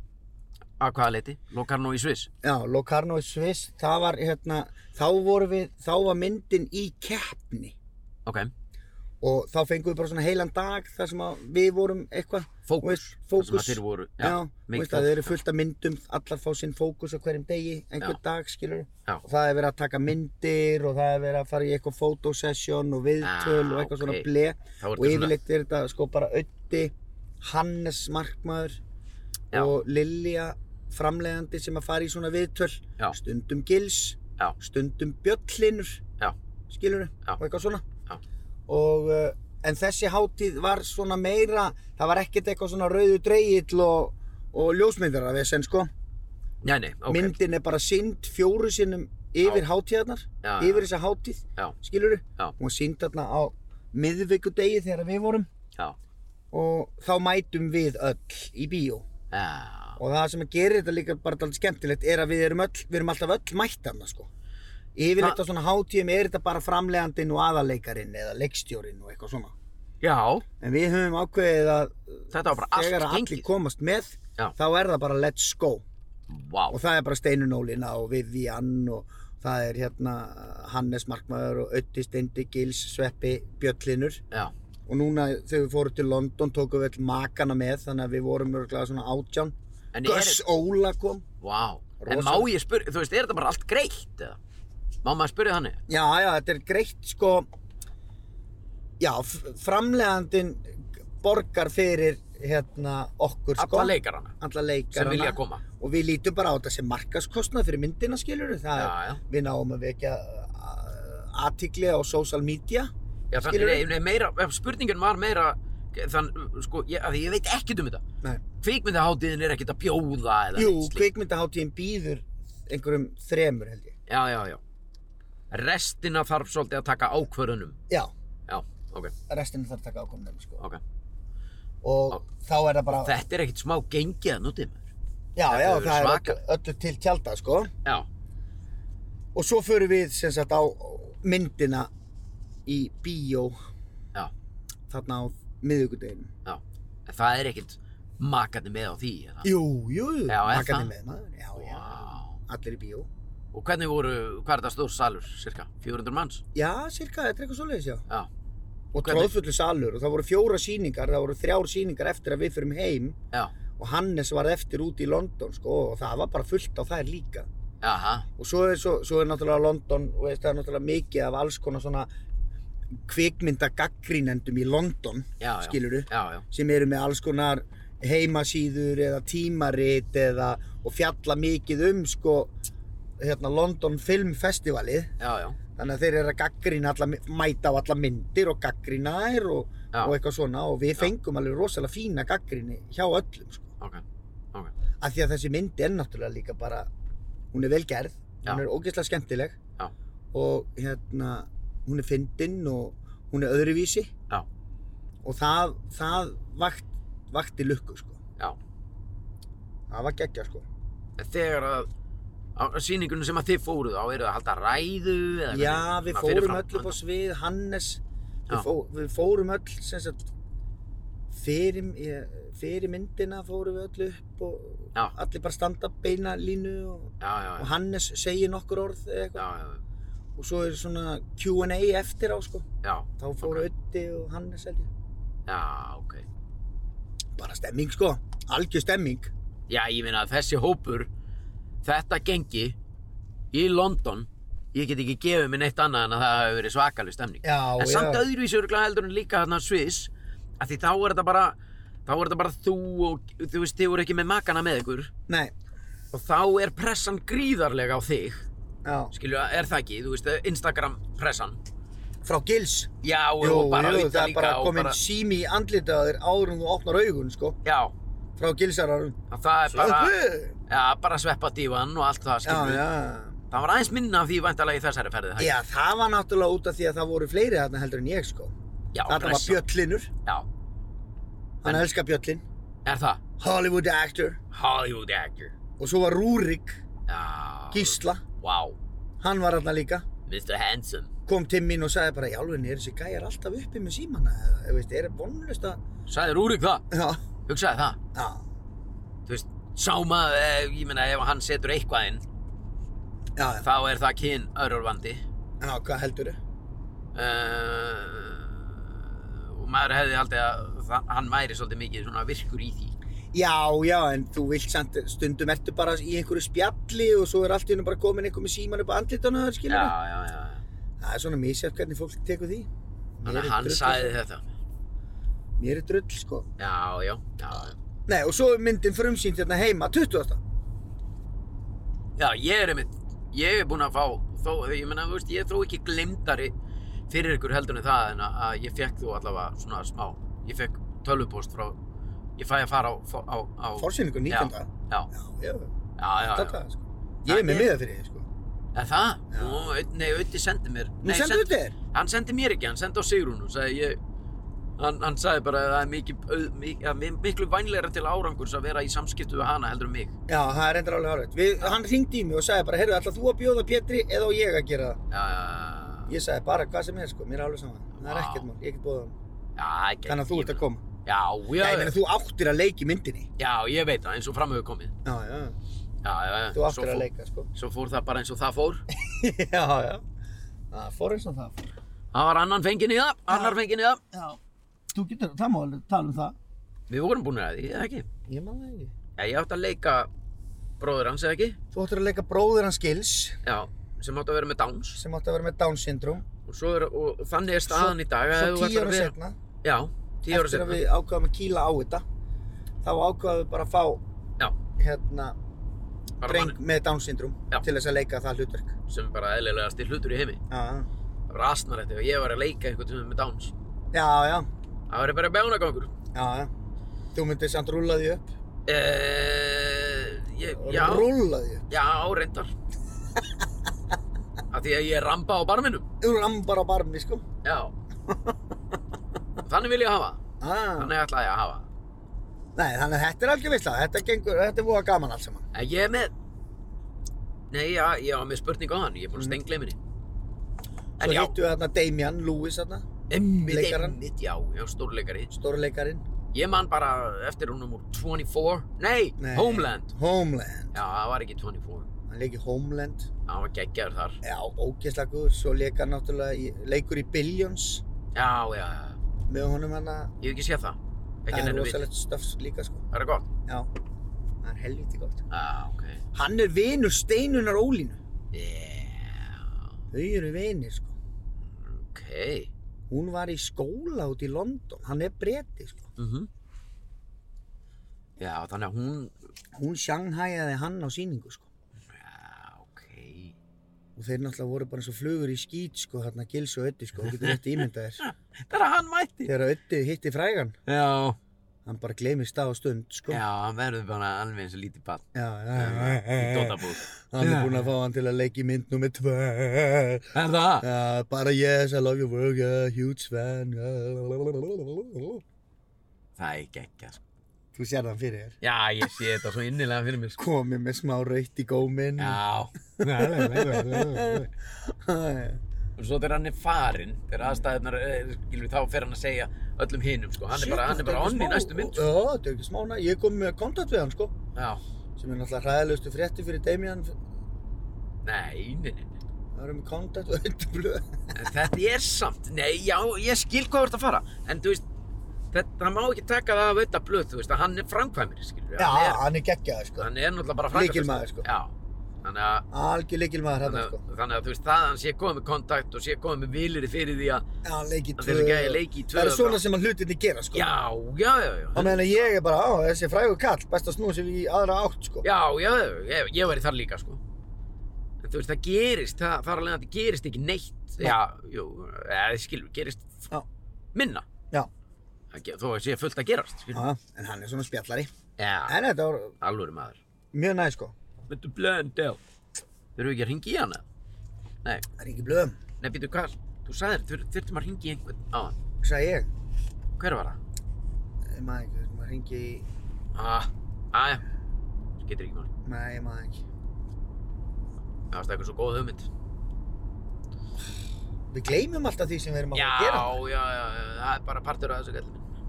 Að hvaða leiti? Locarno í Sviss? Já, Locarno í Sviss, það var hérna, þá vorum við, þá var myndin í keppni Ok. og þá fengum við bara svona heilan dag þar sem að við vorum eitthvað þú Fókus. veist, Þar sem Fókus að þeir voru. Já, þú mikið veist að þeir fókus. eru fullt af myndum, allar fá sinn fókus á hverjum degi, einhvern Já. dag skilur Já. og það er verið að taka myndir og það er verið að fara í eitthvað fotosession og viðtöl Ah, og eitthvað ok. svona ble Þá er og þetta svona, yfirleitt er þetta sko bara Öddi, Hannes Markmaður Já. og Lilja framleiðandi sem að fara í svona viðtöl Já. stundum Gils, Já. stundum Bjöllinur Já. skilur Já. og eitthvað svona Já. og uh, en þessi hátíð var svona meira það var ekkert eitthvað svona rauðu dreigill og, og ljósmyndar að vesen sko já, nei, ok. myndin er bara synd fjóru sinnum yfir hátíðarnar já, já. yfir þessa hátíð Já. skilur Já. hún var synd þarna á miðvikudegi þegar við vorum Já. og þá mætum við öll í bíó Já. og það sem gerir þetta líka bara alltaf skemmtilegt er að við erum öll, við erum alltaf öll mættarna sko yfirleitt Það- á svona hátíðum er þetta bara framlegandinn og aðaleikarin eða leikstjórin og eitthvað svona Já. en við höfum ákveðið að Þetta var bara allt þegar að gengið. allir komast með Já. þá er það bara let's go Vá. og það er bara Steinunólina og Vivian og það er hérna Hannes Markmaður og Ötti Steindi Gils Sveppi Bjöllinur Já. og núna þegar við fórum til London tókum við all makana með þannig að við vorum örglega svona átján En er Gus Óla kom Vá. En Rosa. má ég spurja, þú veist, er þetta bara allt greitt eða? Má maður spurja þannig? já já þetta er greitt sko já f- framlegandinn borgar fyrir hérna okkur sko Alla leikarana alla sem leikarana vilja koma. og við lítum bara á þetta sem markaskostnað fyrir myndina skilur Já, það er já. við náum að vekja aðtikli á social media Já, þannig, Skilurðu? nei, nei, meira, spurningin var meira, þann, sko, ég, af því ég veit ekkert um þetta. Nei. Kvikmyndaháttiðin er ekkert að bjóða eða jú, neitt slíkt. kvikmyndaháttíðin býður einhverjum þremur held ég Já, já, já. Restina þarf svolítið að taka ákvörðunum. já, Já, ok, restina þarf að taka ákomnum sko. ok. og þá er það bara Þetta er ekkert smá gengið að nútið maður. já, já, hefur verið það er svaka. öllu, öllu til tjálta sko. Já, og svo förum við sem sagt á myndina í bíó já, þarna á miðvíkudeginum já. En það er ekkert makandi með á því, eða? jú, jú, Já, er makarnir það? með maður já, já, Vá. allir í bíó Og hvernig voru, hvað er það stór salur, cirka? 400 manns? já, cirka, þetta er eitthvað svoleiðis já Já, og Hvernig? tróðfullu salur og það voru fjóra síningar það voru þrjár síningar eftir að við fyrum heim já, og Hannes var eftir úti í London sko, og það var bara fullt á þær líka jaha, og svo er, svo, svo er náttúrulega London og veist, það er náttúrulega mikið af alls konar svona kvikmyndagaggrínendum í London já, já. Skilurðu? Já, já, sem eru með alls konar heimasíður eða tímarit eða, og fjalla mikið um sko, hérna, London Film Festivalið já, já. þannig að þeir eru að gaggrina alla, mæta á alla myndir og gaggrina þær og, Já. og eitthvað svona og við fengum alveg rosalega fína gaggrini hjá öllum sko. Ok, ok. af því að þessi mynd er náttúrulega líka bara hún er vel gerð, Já. hún er ógeðslega skemmtileg Já. og hérna hún er fyndinn og hún er öðruvísi Já. og það, það vakt, vakti lukku sko. Já. það var geggja sko. En Þegar að, á sýningunum sem að þið fóruð á, eru það að halda ræðu eða hvernig? Já, við Svona fórum fyrirfram- öll upp á svið, Hannes, Já. við, fó, við fórum öll, sem sagt, fyrir, ég- fyrir myndina fórum við öll upp og Já. allir bara standa beina línu og, Já, já, og já, Hannes segir nokkur orð eða eitthvað já, já, og svo er svona Q&A eftir á sko, já, þá fóru Ok. Ötti og Hannes held ég. já, ok. Bara stemming sko, algjör stemming. Já, ég meina að þessi hópur, þetta gengi, í London ég get ekki gefið mér neitt annað en að það hafi verið svakaleg stemning Já, en samt já. öðruvísi örgulega heldur en líka þarna Sviss af því þá er þetta bara þá er þetta bara þú og þú veist þið voru ekki með makana með ykkur Nei, og þá er pressan gríðarlega á þig já. skilju, er það ekki, þú veist, Instagram pressan Frá gils. já, og bara jú, auðvitað það er líka bara og komin sími í andlitið á þér áður en þú opnar augun, sko. já, Frá gilsararum. að það er bara Sveppu! já, bara sveppa dívan og allt Já, það skilju já. það var aðeins minna af því væntalega í þessari ferði það- Já, það var náttúrulega út af því að það voru fleiri þarna heldur en ég, sko. já Þetta var pressan. Bjöllinur. já, Hann elskar Bjöllin. er það, Hollywood actor. Hollywood actor Og svo var Rúrik já, Gísla. wow, Hann var þarna líka. Mr. Handsome Kom til mín og sagði bara, jálfinn, er þessi gæjar alltaf uppi með símana? Eða, Þú veist, er það vonlust að... sagði Rúrik það, Já, hugsaði það já. þú veist, sáma, eh, ég meina ef hann setur eitthvað inn, Já, já. þá er það kyn örurvandi Já, hvað heldur þau? uh, Eh, og maður hefði haldið að það, hann væri svolítið mikið svona virkur í því Já, já, en þú vilt samt, stundum ertu bara í einhverju spjalli og svo er allt í hennu bara komin einhver með síman upp á andlitana þar, skilur já, já, já já. Það er svona misjafn hvernig fólk tekur því. Mér þannig er að hann drull, sagði þetta sko. Mér er drull, sko. já, já, já já. Nei, og svo er myndin frumsýnd hérna heima, 20. já, ég er einmitt, ég er búinn að fá þó, ég meina, þú veist, ég er þó ekki glemdari fyrir ykkur heldur en það en að, að ég fekk þú allavega svona smá ég fekk tölvupost frá ég fæ að fara á, á, á Forsýningu 19. já, já, Já, já, já, já, já. þetta, sko. Ég er Það er- með miða fyrir þið, sko. Er það? Já. Nú, Aud- nei, Ötti sendi mér Nú Nei, sendur þetta þér. Hann sendi mér ekki, hann sendi á Sigrúnu sagði ég, hann, hann sagði bara að það er mikið, auð, mikið, að mi- miklu vænlegra til árangurs að vera í samskiptu við hana heldur en mig Já, það er endur alveg hárvægt. Við, hann ringdi í mig og sagði bara, heyrðu, ætla þú að bjóða Pétri eða á ég að gera það? Já, Ég sagði bara hvað sem er, sko, mér er alveg saman. Það er Vá. ekkert mál, ég get bóðið hann. já, ekki Þannig að þú ert að koma. Já, Já, já, ég meina, þú áttir að leiki myndinni. já, ég veit það, eins og framöfu komið Já, já, Já, já, já þú Svo áttir fór- að leika, sko. Svo fór það bara eins og það fór já, já. Það fór eins og það fór. Það var annan fengin í það, annar fengin í það Já. Þú getur, það má alveg tala um það. Við vorum búin að því, eða ekki Ég maður það ekki. Já, ég átti að leika bróður hans, eða ekki Þú áttir að leika bróðir hans Gils Já, sem átti að vera með Downs sem átti að vera með Down syndrome. og, svo er, og þannig er staðan í dag að ef þú Svo tíu ætlar ára að vera- setna, Já, tíu ára eftir að setna við ákvaðum að kýla á þetta, þá ákvaðum við bara að fá Já. hérna, Bara dreng mann með Down syndrome Já. til þess að leika það hlutverk. sem er bara eðlilegast í hlutur í heimi Já, já. Það var asnarætti og ég var að leika einhvern tíma með Downs já, já, Það var bara bjánagangur já, já. Þú myndir samt rúlla því upp. eh, ég, Já, Rúlla því upp. já, reyndar Af því að ég er ramba á barminum Þú rambar á barmi, sko. Já Þannig vil ég hafa það. Ah. Þannig ætla ég að hafa það. Nei, þannig að þetta er algjör veistla. Þetta gengur, þetta er voða gaman allt saman. En ég er með Nei, já, ég var með spurningu á hann Ég er búin að Mm. stengla minni En Svo já, hittu við þarna Damian Lewis þarna, einmitt, leikarann. einmitt, já, já, stórleikari stórleikarinn. Ég man bara eftir húnum úr 24 Nei, Nei. Homeland Homeland. Já, það var ekki 24 Hann leik í Homeland. Það var geggjaður þar Já, ógeðslega góður. Svo leik hann náttúrulega, í, leikur í Billions Já, já, já með honum hann að... Ég hef ekki séð það Ekki Það er nefnum við rosalegt stöfs líka, sko. Það er gott Já, það er helviti gott. Já, ok Hann er vinur Steinunar Ólínu. Yeah, Þau eru vinir, sko. ok Hún var í skóla út í London. Hann er breti, sko. mm Já, þannig að hún Hún sjanghæjaði hann á síningu, sko. Já, ok Og þeir náttúrulega voru bara eins og flugur í skýt, sko, þarna gils og ötti, sko. Þú getur rétt ímyndað þér. Það er að hann mætti Þegar Ötti hitti frægan, Já hann bara gleymir stað og stund, sko. Já, hann verður bara alveg eins og lítið barn já, já, Í dótabúð Hann Já. er búinn að fá hann til að leika í mynd nummer tvö. Er það? Já, bara yes, I love your work, yeah, huge fan. yeah. Það er geggjað sko. Þú sér það fyrir þér. Já, ég sé þetta svo innilega fyrir mér sko. Komið með smá rautt í góminn. Já og svo þegar hann er farinn þegar aðstæðunar, skilur við, þá fer hann að segja öllum hinum, sko, hann er bara, hann er bara onni í næstu mynd, sko. Já, þetta er ekki smá næ. Ég kom með kontakt við hann, sko. Já, Sem er náttúrulega hræðilegustu frétti fyrir Damian. nei, nei, nei, nei. Það eru með kontakt og Ötti blöð. En þetta er samt, nei, já, ég skil hvað þú ert að fara, en þú veist, þetta, það má ekki taka það af auðvitað blöð, þú veist, að hann er framkvæmir, skilur við, Já, hann er, hann er geggjaður, sko. hann er náttúrulega bara framkvæmir. Lykilmaður, sko. Já, Þannig að, Algjör leikilmaður hérna, þannig sko. að, þannig að þú veist, það hann sé komið með kontakt og sé komið með vilir fyrir því að, Já, leiki Hann tvö. þessi gæi leiki í tvö Það er svona bara. sem að hlutinni gera, sko. já, já, já, já. Á meðan að ég er bara, á, þessi frægur kall, best að snúa sér í aðra átt, sko. Já, já, ég, ég væri þar líka, sko. En þú veist, það gerist, það þar alveg að það gerist ekki neitt. Nei. Já, jú, eða skilur, gerist Já. minna. Já. Það ge- Þó að sé fullt að gerast, skilur. Já, en hann er svona spjallari. Já, Ah. En þetta var alvöru maður. mjög næ, sko. Þetta er blönd, já. Þurfum við ekki að ringi í hana? Nei, Það er ekki blöðum, nei, býtu, hvað? Þú sagðir, þur, þurftum að ringi í einhvern á hann. sagði ég. Hver var það? Ég maður ekki, maður ringi í... Ah, aðja, getur ekki máli. Nei, ég maður ekki. Það varst eitthvað svo góð hugmynd. Við gleymum alltaf því sem við erum að Já, fara að já, gera. já, já, það er bara partur af þessu, gæli minn.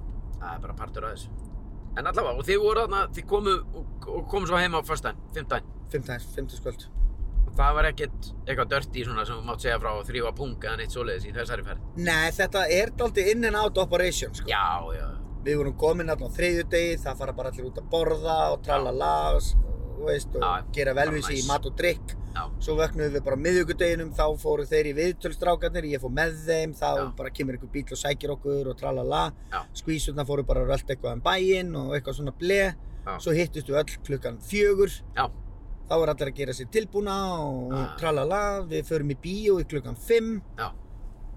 Það er bara partur af þessu. En allavega, og þið voru þarna, þið komu og, og komu svo heima á föstudaginn, fimmtaginn. Fimmtæns, fimmtæskvöld. Og það var ekkert eitthvað dirty svona sem þú mátt segja frá að þrýfa pung eða neitt svoleiðis í þessari ferð. Nei, þetta er daldi in and out operation, sko. Já, já, Við vorum komin alltaf á þriðjudegi, það fara bara allir út að borða og tralala, og s- og veist, og Já, já. gera velvísi Bara í næs. mat og drikk. já, Svo vöknum við bara á miðvikudeginum, þá fóru þeir í viðtölstrákarnir, ég fór með þeim, þá Já. bara kemur einhver bíl og sækir okkur og tralala. Já. Skvísurna fóru bara að rölda eitthvað um bæinn og eitthvað svona ble. Já. Svo hittust við öll klukkan fjögur, já, þá er allir að gera sér tilbúna og Já. tralala. Við förum í bíó í klukkan fimm, já,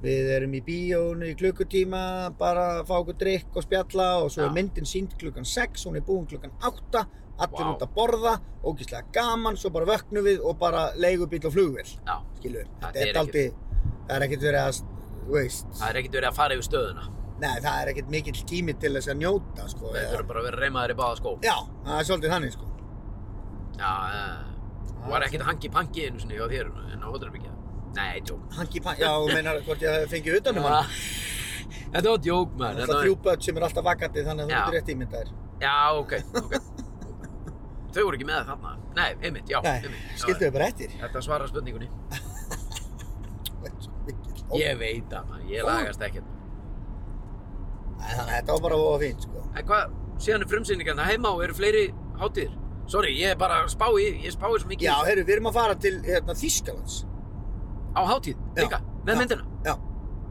við erum í bíónu í klukkutíma, bara að fá okkur drikk og spjalla og svo Já. er myndin sínd klukkan sex, hún er búin klukkan átta, allir Vá. út að borða, ógíslega gaman, svo bara vöknum við og bara leigubíl og flugvél já. skilur við. Það Þetta er er daldi, það er ekkert verið að, þú veist, Það er ekkert verið að fara yfir stöðuna. nei það er ekkert mikill tími til þess að njóta, sko. Við eða- þurfum bara að vera reymaður í báða skó. Já, það er svolítið þannig, sko. Já, já. Var ekkert hangi-pangi einu sinni hjá þér en á hótelbyggja? Nei, djók. Hangi pann, já, þú meinar hvort ég hafi fengið utanum hann. Þetta var djók, maður. Það er þrjú börn sem er alltaf vakandi þannig að þú Já. getur rétt ímyndaðir. Já, ok, ok. Þau voru ekki með þarna. Nei, einmitt, já, Nei, einmitt. já. skildu við bara eftir. Þetta svarar spurningunni. Ég... Ég veit það, maður, ég lagast ekkert. Þannig að þetta var bara voða fínt, sko. En hvað, síðan er frumsýningarna heima og eru fleiri hátíðir? Sorry, ég er bara að spá í, ég spái svo mikið Já, heyrðu, við erum að fara til hérna, Þýskalands. á hátíð, Já, líka, með já, myndina. já.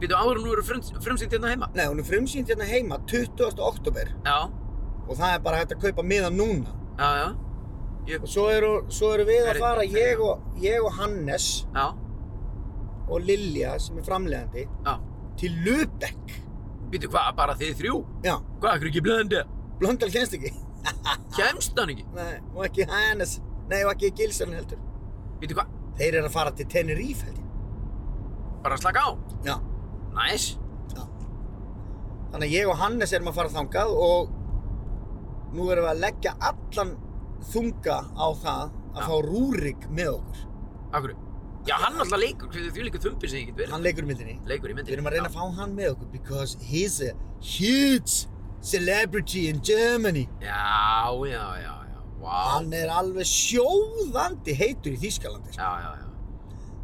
Býtu áður nú eru frums, frumsýningarna heima? Nei, hún er frumsýnd hérna heima 20. oktober Já, og það er bara hægt að kaupa miða núna. já, já, Og svo eru, svo eru við Er- að fara, er- ég og, ég og Hannes, já, og Lilja sem er framlegandi já. til Lübeck Býtu hvað, bara þið þrjú? Já, Hvað, akkur ekki blöndi? Blöndal kennst ekki Kemst hann ekki? Nei, og ekki Hannes Nei, og ekki Gilsson heldur Býtu hvað, Þeir eru að fara til Tenerife held ég bara slaka á? Já Næs. Þannig að ég og Hannes erum að fara þangað og nú erum við að leggja allan þunga á það að Já. fá Rúrik með okkur Akkur? Já, hann alltaf leikur, því líka þumpi sem ég get verið. Hann leikur í myndinni leikur í myndinni. Við erum að reyna að fá hann með okkur because he's a huge celebrity in Germany Já, já, já, já, vá. Hann er alveg sjóðandi heitur í Þýskalandi sko. Já, já, já.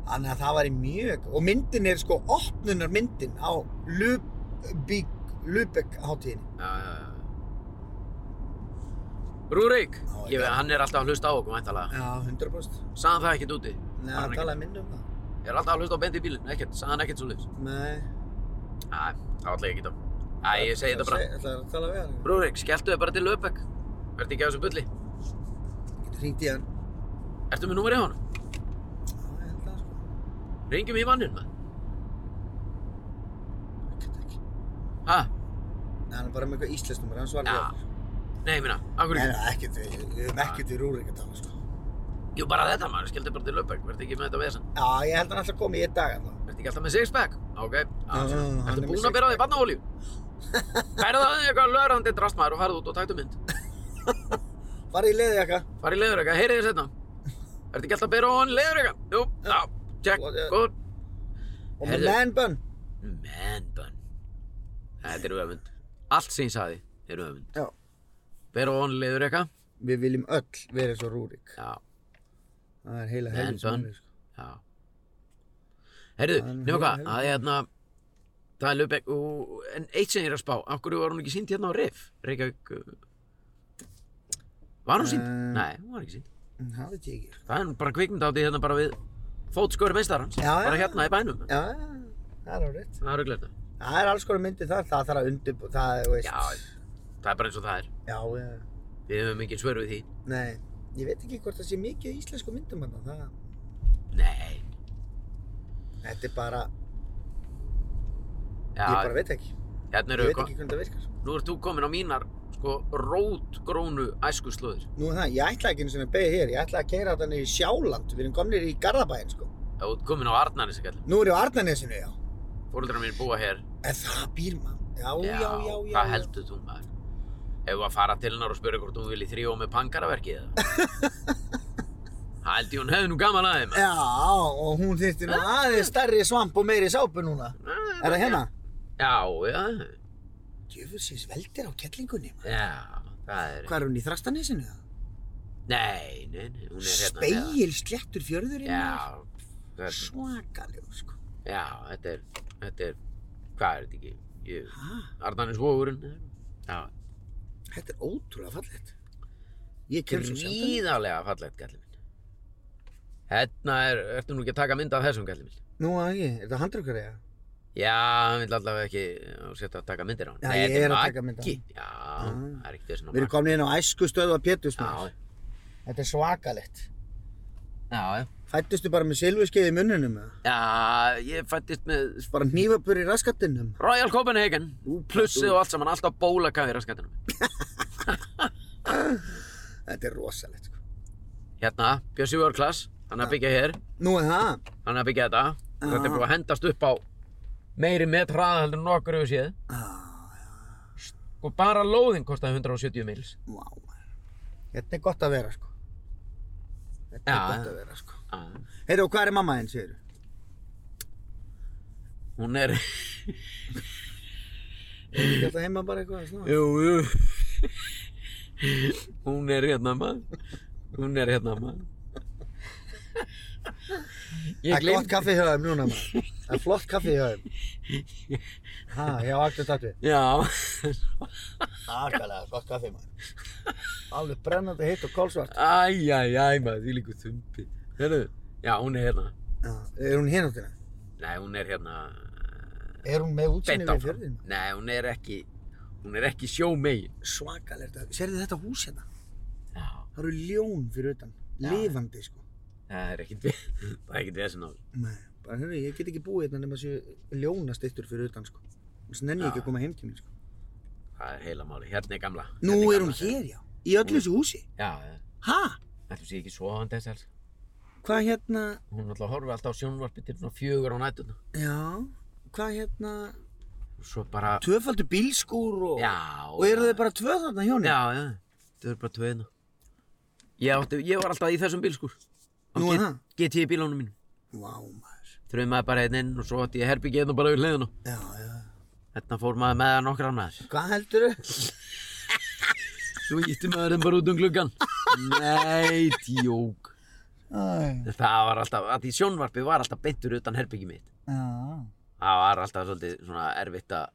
Þannig að það væri mjög, og myndin er sko opnunar myndin á Lübeck, Lübeck hátíðinni. já, já, já. Rúrik, Já, ég, já. hann er alltaf að hlusta á okkur, væntalega. Já, 100%. Saðan það ekkert úti? Nei, Var það hann ekki- talaði minn um það. Ég er alltaf að hlusta á bendi í bílinn, ekkert, saðan ekkert svo liðs. Nei. Æ, það var alltaf ekki það. Æ, ég segi þetta bara. Það er að tala við hann. Rúrik, skelltu þig bara til Löfbæk. Verði ekki á þessu bulli. Hringdi í hann. Ertu með númerið á honum? Já, ég held það sko. Ringjum í mannin, maður. Ég get ekki. Hæ? Nei, hann er bara með eitthvað íslenskt númer, hann svarði Já. okkur. Nei, minna, akkur Nei, ekki. nei, ekkert, við við höfum ekkert við Rúrik að tala sko. Jú, bara þetta, maður. Skelltu þig bara til Löfbæk. Verði ekki með þetta vesen. Já, ég held hann alltaf komið í einn dag alltaf. Ertu ekki alltaf með sixpack? Ok, Já, já, aðeins. hann er Ertu með búinn að byrja á því sixpack. barnaolíu? Færðu það eitthvað lögrandi drastmaður og farðu út og taktu mynd. Farið í leiði Farðu í leður eitthvað, heyrið þér setna. Ertu ekki alltaf að byrja á hann leður eitthvað? Jú, já, check, Og, eh, góð. og með Heyrðu. man bun. Man bun. Þetta er öfund. Allt sem ég saði er öfund. Já. Byrja á hann leður eitthvað? Við viljum öll vera svo Rúrik. Já, Það er heila Man helvið sem bun. hann er sko. já. Heyrðu, Það er nú nema heyrðu, hvað, heyrðu. það er hérna, það er lögbæk og, en eitt sem ég er að spá, af hverju var hún ekki sínd hérna á Rif, Reykjavík, uh, var hún sínd? Eh. Nei, hún var ekki sínd. Mm, það veit ég ekki. sko. Það er nú bara kvikmyndátti hérna bara við fótskóri meistarans. Já, já. Bara hérna í bænum. Já, já, það er árið. Það er auðvitað. Það er alls konar myndið þar, það þarf að undirbú, það, þú veist. Já, það er bara eins og það er. Já, já, Við höfum engin svör við því. nei, ég veit ekki hvort það sé mikið í íslensku myndum hann, það, Nei. þetta er bara, Já, ég bara veit ekki. Ég hérna eru veit ekki hvernig það virkar. Nú ert þú komin á mínar, sko, rótgrónu æskuslóðir. Nú er það, ég ætla ekki eins og að beigja hér, ég ætla að keira þetta niður í Sjáland, við erum komnir í Garðabæinn, sko. Já, Þú ert komin á Arnarnesi, kallum. Nú er ég á Arnanesinu, já. Fóruldrar mín búa hér. En það býr maður, já, já, já, já. Hvað heldur þú, maður? Ef þú að fara til hennar og spyrja hvort hún vil í þrjó með pankaraverkið eða? Það held ég hún hefði nú gaman aðeim. Já, og hún þyrfti nú aðeins stærri svamp og meiri sápu núna. Er það hérna? Já, já, Djöfusins veldir á kettlingunni, maður. já, það er... Hvað er hún í Þrastanesinu það? Nei, nei, nei, hún er hérna. Speil slettur fjörðurinn maður. Já, hérna. það er... Svakalegur, sko. Já, þetta er, þetta er, hvað er þetta ekki? Ég, Hæ? Arnarnes vogurinn, já, Þetta er ótrúlega fallegt. Ég kem svo sjaldan. gríðarlega fallegt, gæli minn. Hérna er, ertu nú ekki að taka mynd af þessum, gæli minn? Nú að ég, er þetta handrukkur eða? Já, hann vil allavega ekki eh, setja að taka myndir á hann. Já, Nei, ég þetta er að taka Maggi. mynd af Já, það er ekkert þessum Ah. Við erum komin inn á æsku stöðu að Péturs, maður. Já, Þetta er svakalegt. já, já. Fættustu bara með silfurskeiði í munnunum, eða? Já, ég fættist með Bara hnífabur í raskattinum. Royal Copenhagen, plussið og allt saman, alltaf bólakaði í raskatunum. Þetta er rosalegt, sko. Hérna, Bjössi World Class, hann er að byggja hér, Nú er það. hann er að byggja þetta. Þetta Ah. er búið að hendast upp á meiri metraða heldur en nokkur hefur séð. Ah, Og bara lóðin kostaði 170 mils. Vá, maður. Þetta er gott að vera, sko. Þetta Já, er gott já. að vera, sko. Ah. Heyrðu, og hvað er mamma þinn, segirðu? Hún er... Er hún ekki alltaf heima bara eitthvað að slá? Jú, jú. Hún er hérna maður. Hún er hérna maður. Það Ég er gott glemt... kaffi í höfum núna, maður. Það er flott kaffi í höfum. Ha, já, aktu tattu. Já. Akalega, gott kaffi, maður. Alveg brennandi hitt og kólsvart. Æj, æj, æj maður, því líku þumpi. Hérna, já, hún er hérna. Já, er hún hináttina? Nei, hún er hérna... Er hún með útsinni Beint við áfram. fjörðin? Nei, hún er ekki... Hún er ekki sjómegin. Svakalegt. að- Sérðu þetta hús hérna? Já. Það eru ljón fyrir utan. Já. Lifandi, sko. Það er ekkert við, það er ekkert við þessi náður. Nei, bara hérna, ég get ekki búið hérna nema séu ljónastittur fyrir utan, sko. Þess nenni ég ekki að koma heim til mín, sko. Það er heila máli, hérna er gamla. Nú Hérna er hún gamla. hér, já. Í öllu þessu húsi. Já, Ha? ætlum sé ekki svoðan þess alls. Hvað hérna, Hún alltaf horfið alltaf á sjónvarpi til svona fjögur á nættuna. já, hvað hérna, Og svo bara, tvöfaldur bílskúr og... já. Og eru þau bara tvö þarna hjónir? Já, já, þau eru bara hérna. tveiðna. Ég, átti, ég var alltaf í þessum bíl, sko. skur. Nú er það? Get ég í bílónu mínu. Vá, maður. Þrjóði maður bara einn inn og svo átti ég herbyggið hérna bara við hliðinu. Já, já. Þarna fór maður með það nokkra maður. Hvað heldur þau? Svo ítti maður þeim bara út um gluggan. Nei, djók. Æ, Það var alltaf, að því sjónvarpi var alltaf beintur utan herbyggið mitt. já. það var alltaf svolítið svona erfitt að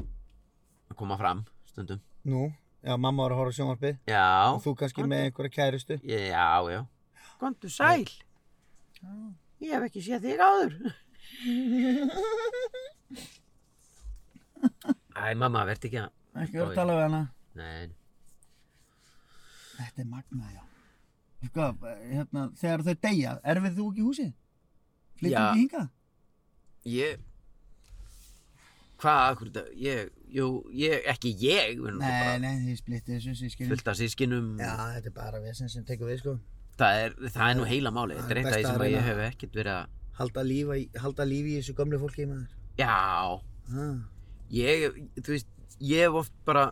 að koma fram stundum Nú, já, mamma var að horfa á sjónvarpið. já, Og þú kannski með einhverja kærustu. já, já komdu sæl ég hef ekki séð þig áður æ, mamma, verð ekki að Ekki vera að tala við hana. nei, Þetta er magnað, já. Hvað, hérna, þegar þau deyja, erfið þú ekki í húsið? Flyttum Já. ekki hingað? ég hvað, akkur þetta, ég jú, ég, ekki ég við erum Nei, bara nei, þið splittið þessu sískinni. fullt af sískinum Já, þetta er bara vesen sem tekur við, sko. það er, það er nú heila máli þetta Það er er eitt af því best að sem að ég reyna. hef ekkert verið að Halda lífi, halda lífi í þessu gömlu fólki, maður. já, Ha. ég, þú veist, ég hef oft bara,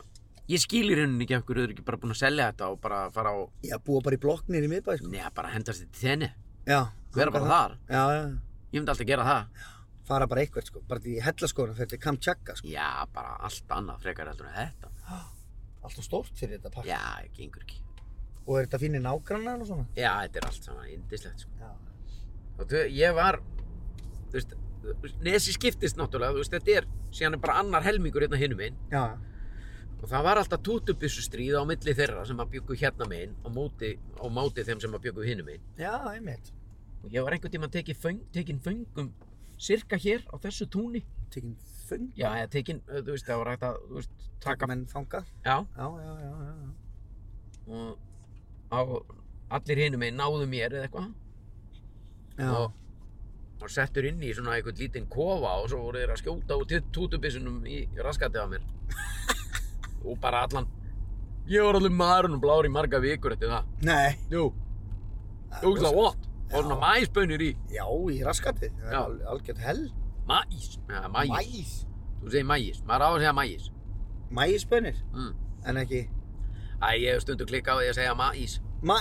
ég skil í rauninni ekki af hverju þau eru ekki bara búin að selja þetta og bara fara á, Já, búa bara í blokknir í miðbæ, sko. neða, bara hendast þetta til þenni, Já. vera bara þangað. þar, Já, já. ég myndi alltaf gera það. Fara bara eitthvað, sko. Bara til hellaskóna, fyrir til Kamchakka, sko. Já, bara allt annað frekar heldur en þetta. Alltaf stórt fyrir þetta pakk. Já, það gengur ekki. Og er þetta fínir nágrannar og svona? Já, þetta er allt saman indislegt, sko. Já. Og þau, ég var, þú veist, nesi skiptist náttúrulega, þú veist, þetta er, síðan er bara annar helmingur hérna hinum einn Já, og það var alltaf tútubissu stríð á milli þeirra sem að byggu hérna megin á móti, á móti þeim sem að byggu hinum megin Já, einmitt. og ég var einhvern tíma tekin, föng, tekin föngum cirka hér á þessu túni Tekinn fung. já, eða tekin, eh, þú veist, það var hægt að þú veist, taka, Menn fanga. já Já, já, já, já. já. og á, allir hinum megin náðu mér eða eitthvað Já, og, og settur inn í svona einhvern lítinn kofa og svo voru þeir að skjóta úr tútubissunum í raskatið á mér og bara allan ég var alveg maðurinn og blár í marga vikur eftir það Nei. jú, Það ógislega rosa- vont og svona Já. mæsbönir í Já, í raskatið. Það er Já. al- algjört hell. mæs, eða mæs, Mæs. þú segir mæs maður á að segja mæs Mæsbönir. mm. En ekki. Æ, ég hef stundu klikkað á því að segja mæs Mæ.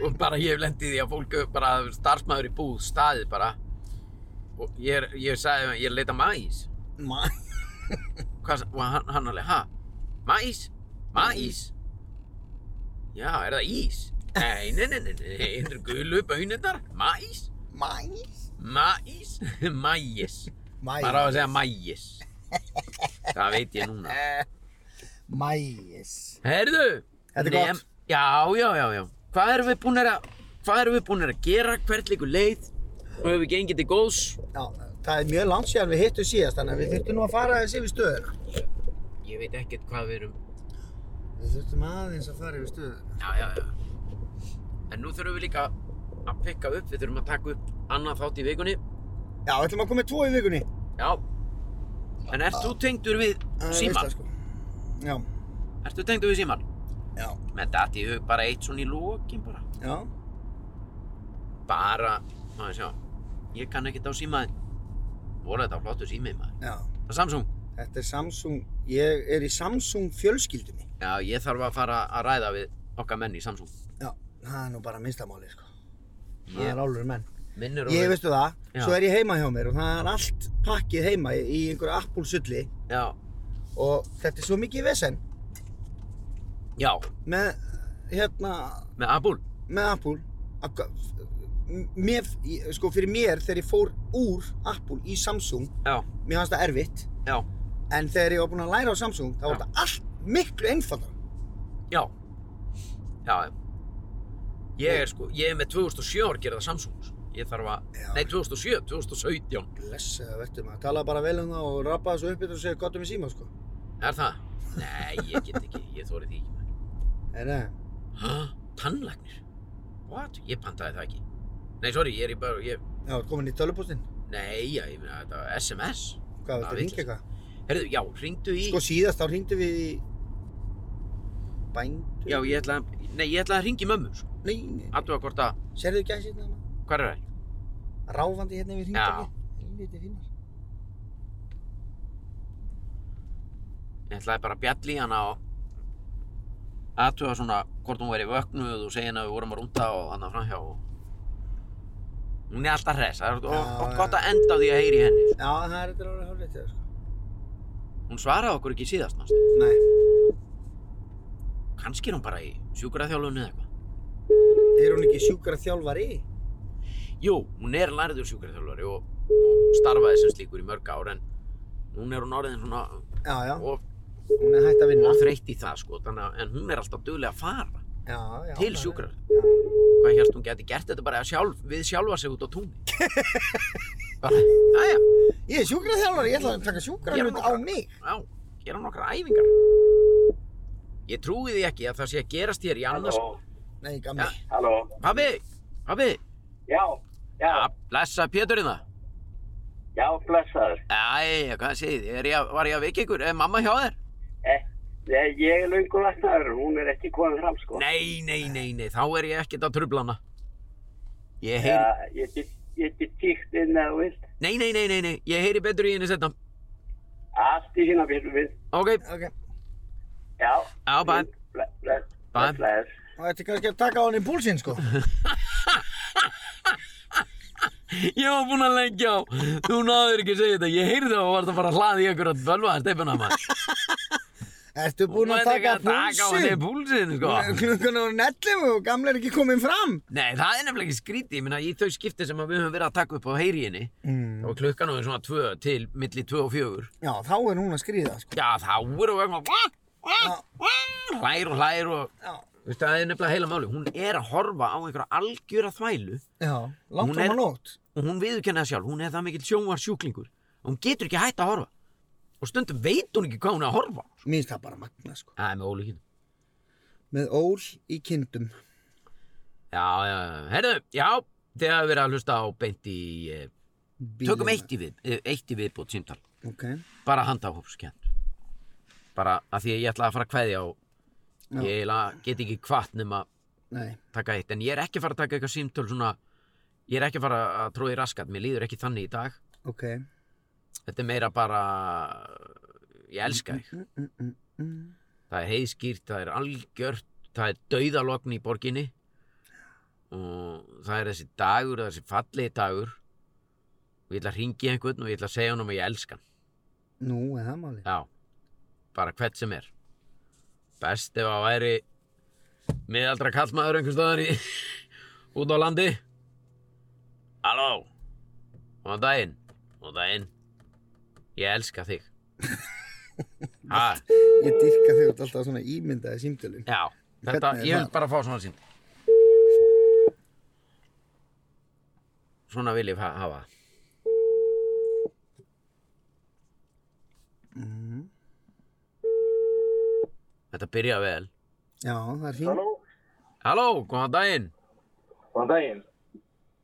og bara ég hef lendið því að fólk bara starfsmæður í búð, staðið bara og ég, er- ég sagði, ég er að leita mæs Mæ. Hvað, sa- og hann, hann alveg, ha? Mæs? Mæs? Já, er það ís? Nei, nei, nei, nei, nei, þetta eru gulu bönirnar, mæs, Mæs. mæs, mæs, Mæs. maður á að segja mæs, það veit ég núna. Mæs. Herðu, Þetta er gott. já, já, já, já, hvað erum við búin að, hvað erum við búin að gera, hvert líkur leið, og hefur gengið til góðs, Já, það er mjög langt síðan við hittum síðast, þannig að við þurftum nú að fara aðeins yfir stöðuna. ég veit ekkert hvað við erum, Við þurftum aðeins að fara yfir stöðuna. já, já, já, en nú þurfum við líka að pikka upp, við þurfum að taka upp annað þátt í vikunni, Já, við ætlum að koma með tvo í vikunni. Já. En ert þú tengdur við Það er síman? veisla, sko. Já, Ert þú tengdur við síman? já, Með datt ég hug bara eitt svona í lokin bara. já. Bara, maður sjá, ég kann ekkert á símaðin. Voru þetta flottu símið maður? Já, Það er Samsung? þetta er Samsung, ég er í Samsung fjölskyldunni. Já, ég þarf að fara að ræða við okkar menn í Samsung. Já, það er nú bara minnstamáli, sko. Það Ég er álur menn. minnur Ég veistu það, Já. svo er ég heima hjá mér og það er allt pakkið heima í- í einhverju appulsulli Já, og þetta er svo mikið vesen já, með, hérna, með Apple. með Apple. að hva- m- Mér, ég- sko fyrir mér þegar ég fór úr Apple í Samsung, Já, mér fannst það erfitt, já, en þegar ég var búinn að læra á Samsung, þá var Já. þetta allt miklu einfaldar. já. Já, já. Ég er sko, ég er með 2007 ár gerða Samsungs. Ég þarf að, Já. nei 2007, 2017. Blessaði að verður maður, talaði bara vel um það og rappaði svo upp yfir og segja gott um í síma, sko. Er það? Nei, ég get ekki, ég þóri því ekki maður. Er það? Hæ? Tannlagnir? What? Ég pantaði það ekki. Nei, sorry, ég er í bara, ég... Já, þú ert kominn í tölupústinn. Nei, já, ég meina, þetta var SMS. Það Hvað, viltu vitlaust. hringja eitthvað? Herðu, já, hringdu í... Sko síðast, þá hringdu við í... Bændu? Já, ég ætla að... Nei, ég ætla að hringi mömmu, sko. Nei, nei. Attuða hvort að... Serðu ekki aðeins hérna? maður? Hvar er það? Ráfandi hérna yfir Já. hringdagi. Helviti finnar. Ég ætlaði bara að bjalli hana og... Attuða svona hvort hún væri vöknuð og segja henni að við vorum að rúnda og annað framhjá og... Hún er alltaf hress. Það er Já, og, og já. gott að enda á því að heyri henni. sko. Já, það er þetta ráðið hálfrið til það, sko. Hún svaraði okkur ekki síðast, mannstu. Nei. Kannski er hún bara í sjúkraþjálfunni eða eitthvað. Er hún ekki sjúkara þjálfari? Jú, hún er lærður sjúkraþjálfari og, og starfaði sem slíkur í mörg ár en núna er hún orðin svona Já, já. og, Hún er hægt að vinna. og þreytt í það sko þannig, að- en hún er alltaf duglega að fara Já, já. til það er- sjúkrar Já. hvað hérst hún geti gert þetta bara sjálf, við sjálfa sig út á túnni bara, aðja, Ég er sjúkara þjálfari, ég ætla að taka sjúkara Ég er á nokkra. mig. já, gera nokkra æfingar ég trúi því ekki að það sé að gerast hér í annars Halló, Nei, gamli. halló. pabbi, pabbi, Já, já, að blessa Péturina já, blessaður. Æja, hvað segið, þið? Er ég að- var ég að vekja ykkur, er mamma hjá þér? Eh, eh, ég er löngu vaknaður, hún er ekki komin fram, sko. Nei, nei, nei, nei, þá er ég ekkert að trubla hana. Ég heyri, Já, Eh, ég get, ég get tíkt inn eða þú vilt. nei, nei, nei, nei, nei, ég heyri betur í henni setna. Allt í hérna fyrir við. Ok, Ok. Já. Já, bæ. Ble- ble- Bæ. Blessaður. Það ertu kannski að taka á hann í búlsinn, sko. ég var búinn að lengja á, þú náður ekki að segja þetta, ég heyri það og varst að fara að hlaða í ykkur að bölva að steipuna maður. Ertu búinn að taka Taka á henni púlsinn? púlsinn, sko. Klukkan á netlifu og gamli er ekki komin fram. Nei, það er nefnilega ekki skrítið, ég meina í þau skipti sem að við höfum verið að taka upp á heyri í henni, Mm. þá er klukkan á svona tvö til, milli tvö og fjögur. Já, þá er hún að skrýða, sko. Já, þá eru við eitthvað, hlær og hlær og Já, Veistu, það er nefnilega heila máli, hún er að horfa á einhverja algjöra þvælu já, langt Hún fram er- á nótt og hún viðurkenna það sjálf, hún er það mikill sjónvar sjúklingur hún getur ekki hætt að horfa og stundum veit hún ekki hvað hún er að horfa á. Mér finnst það bara magna Það sko er Ah, með hérna. ólíkin Með ól í kindum Já, já, herðu, já þið hafa verið að hlusta á beint í eh, tökum eitt í, við, eh, eitt í viðbútt símtal, Ok, bara handahópskend bara að því að ég ætla að fara að kveðja og Já. ég eiginlega get ekki kvart nema nei, taka eitt en ég er ekki að fara að taka eitthvað símtöl svona ég er ekki að fara að tróði raskat mér líður ekki þannig í dag ok þetta er meira bara ég elska þig mm, mm, mm, mm. það er heiðskýrt, það er algjört það er dauðalogn í borginni og það er þessi dagur þessi fallegi dagur og ég ætla að ringi einhvern og ég ætla að segja honum að ég elska hann Nú, er það máli já, bara hvert sem er best ef að væri miðaldra kallmaður einhvers staðar í út á landi halló og um daginn og daginn ég elska þig ha, Ég dyrka þig út alltaf svona ímyndaði símtölum Já, þetta, Hvernig er ég vil það? bara fá svona sínd Svona vil ég ha- hafa það. Mhm. Þetta byrja vel Já, það er fín Halló, Halló, góðan daginn góðan daginn.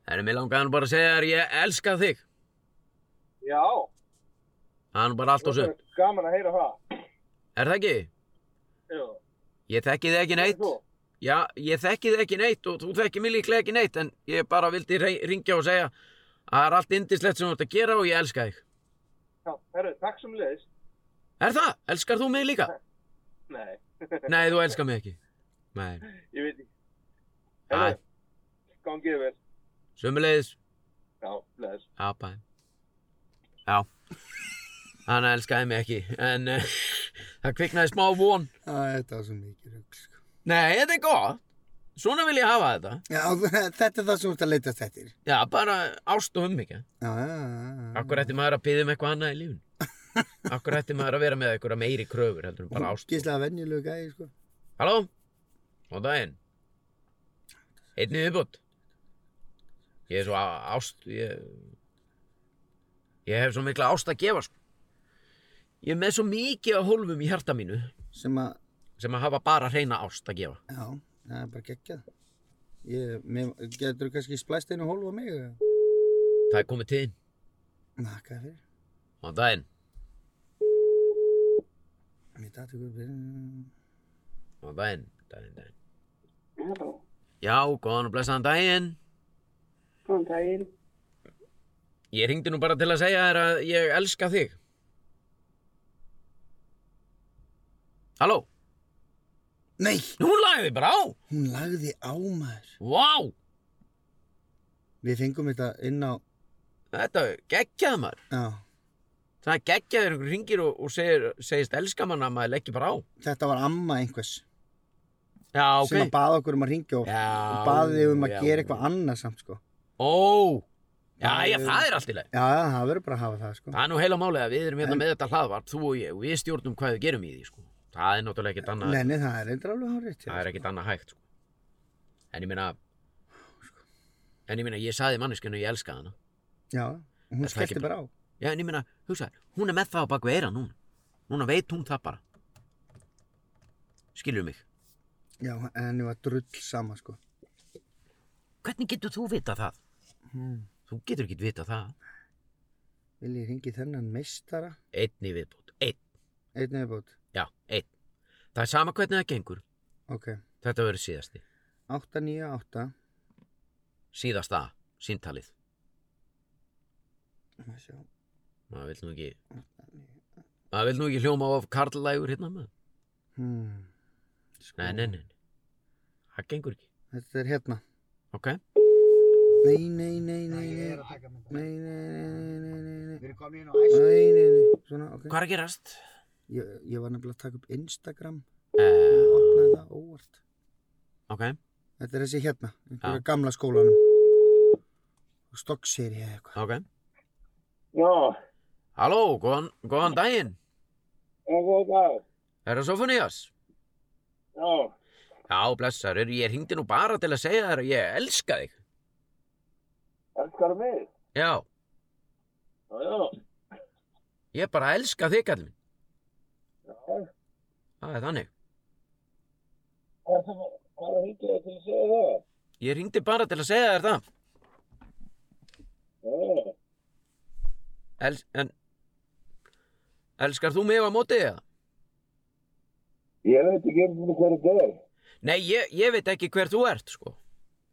Það er mér langaði nú bara að segja þér ég elska þig Já, Það er nú bara allt og sumt gaman að heyra það. Er það ekki? Já, Ég þekki þig ekki neitt þú? Já, ég þekki þig ekki neitt og þú þekki mig líklega ekki neitt en ég bara vildi rey- ringja og segja að það er allt indislegt sem þú ert að gera og ég elska þig Já, herru, takk sem leiðis. Er það? Elskar þú mig líka? Nei, Nei, þú elskar mig ekki. Nei. ég veit ekki. Æ, Herru, gangið vel. sömulegis. Já, leiðis. Já, bæ. Já. Hann elskaði mig ekki, en uh, það kviknaði smá von. Æ, Þetta var svo mikið rugl sko Nei, þetta er gott. Svona vil ég hafa þetta. Já, þetta er það sem þú ert að leitast eftir Já, Já, bara ást og umhyggja. já, já, já Akkur ætti maður að byggja um eitthvað annað í lífun. Akkur ætti maður að vera með eitthvað meiri kröfur heldur en bara ást. Gíslega venjulegu gæði sko Halló? Góðan daginn. Einnig viðbútt. Ég er svo á- ást... Ég, ég hef svo mikla ást að gefa, sko. Ég er með svo mikið af hólfum í hjarta mínu Sem að, sem að hafa bara hreina ást að gefa. já, það er bara geggjað Ég, mér, getur þú kannski splæst einu hólf á mig? eða? Það er komið tíðin. Nakka fyrir Góðan daginn. Mér dætti ykkur fyrir Góðan daginn. Daginn, daginn. Halló, Já, góðan og blessaðan daginn. góðan daginn. Ég ringdi nú bara til að segja þér að ég elska þig. Halló? Nei, Nú lagði bara á! hún lagði á maður Vá! Við fengum þetta inn á, Þetta geggjaði maður. já Það er geggjaður einhver ringir og, og segir, segist elska manna að maður leggja bara á. Þetta var amma einhvers Já, sem að baða okkur um að ringja og, Ah, Já, og baði þig um að já. gera eitthvað annað um- samt sko Ó, já, Það já, er- það er allt í leið. Já, það verður bara að hafa það sko Það er nú heila málið að við erum hérna En- með þetta hlaðvarp, þú og ég, og við stjórnum hvað við gerum í því, sko. Það er náttúrulega ekkert annað, Nei, nei, það er eitthvað alveg hárétt það er ekkert annað hægt, sko. En ég meina, en ég meina, ég saði manneskinu ég elska hana. Já, hún Er það ekki skellti bara á Já, en ég meina, hugsaður, hún er með það á bakvið eira núna. Núna veit hún það bara. Skilur mig. Já, en henni var drull sama sko Hvernig getur þú vita það? Hmm. Þú getur ekki vita það. Vil ég ringi þennan meistara? Einn í viðbútt, einn. Einn viðbót, Já, einn. Það er sama hvernig það gengur. ok Þetta verður síðasti. 898 Síðasta síntalið. Má sjá. Maður vil nú ekki... Maður vil nú ekki hljóma of karlægur hérna maður. hmm. sko, Nei, nei, nei. nei. Það gengur ekki. Þetta er hérna Ok? Nei, nei, nei, nei, Ég nei er að taka mynda. Nei, nei, nei, nei, nei, Við nei, erum komin inn á nei, æsku. nei, nei, nei, svona, ok. Hvað er að gerast? Ég, ég var nefnilega að taka upp Instagram, Uh, opnaði það óvart. ok. Þetta er þessi hérna, einhverja Já. gamla skólanum. Stokkseri eða eitthvað. Ok. Já, Halló, góðan, góðan daginn. góðan dag. Herra Sofonías? Já, Já, blessar, ég hringdi nú bara til að segja þér að ég elska þig. elskar mig. Já, Já, já. ég bara elska þig, kallinn minn. Já, Það er þannig. hvað hvað er hengið til að segja það? Ég hringdi bara til að segja þér það. Já, já. El, en, elskar þú mig á mótið eða? Ég veit ekki um hverju þetta er. Nei, ég, ég veit ekki hver þú ert, sko.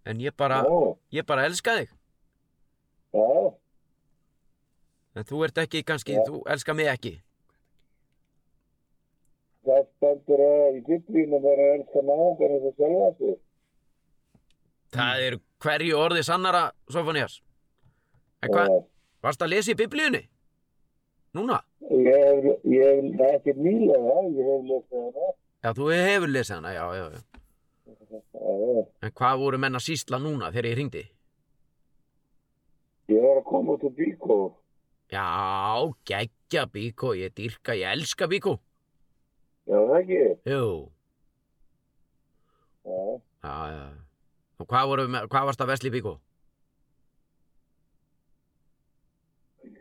En ég bara, Já, ég bara elska þig. já. En þú ert ekki kannski, Já. þú elskar mig ekki. Það stendur að í biblíunum er að elska náðan eins og sjálfa sig. Mm. Það er hverju orði sannara, Sofonías. En hvað, Já. varst að lesa í biblíunni? Núna? Ég hef, ég hef, það er ekki nýlega, ég hef lesið hana. Já, þú hefur lesið hana, já, já, já. Já, já. En hvað voru menn að sýsla núna þegar ég hringdi? Ég var að koma út úr bíkó. Já, geggja bíkó, ég dýrka, ég elska bíkó. Já, það ekki. Jú, Já. já, já. Og hvað, voru, með- hvað varst að vesla í bíkó?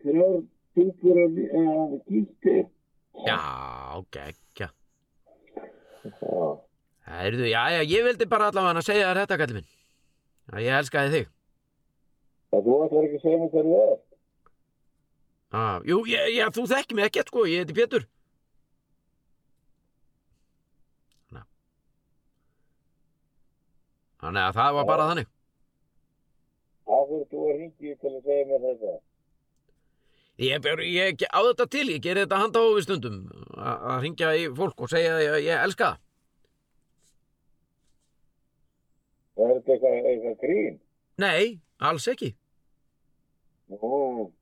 Þrjár bíkur að uh, kýtti. Já, geggja. Já. Herðu, já, já, ég vildi bara allavega að segja þér þetta, kallið minn. Að ég elskaði þig. Það þú ætlar ekki að segja mér hverju það er. Ah, jú, ég, já, þú þekki mig ekkert, sko, ég heiti Pétur. Þannig að- Þannig að það var bara þannig. Það fyrir þú að ringi til að segja mér þetta. Ég, ber, ég ge- á þetta til, ég geri þetta handa á við stundum a- að ringja í fólk og segja að ég, ég elska það. Það er þetta eitthvað, eitthvað grín. Nei, alls ekki. Nú.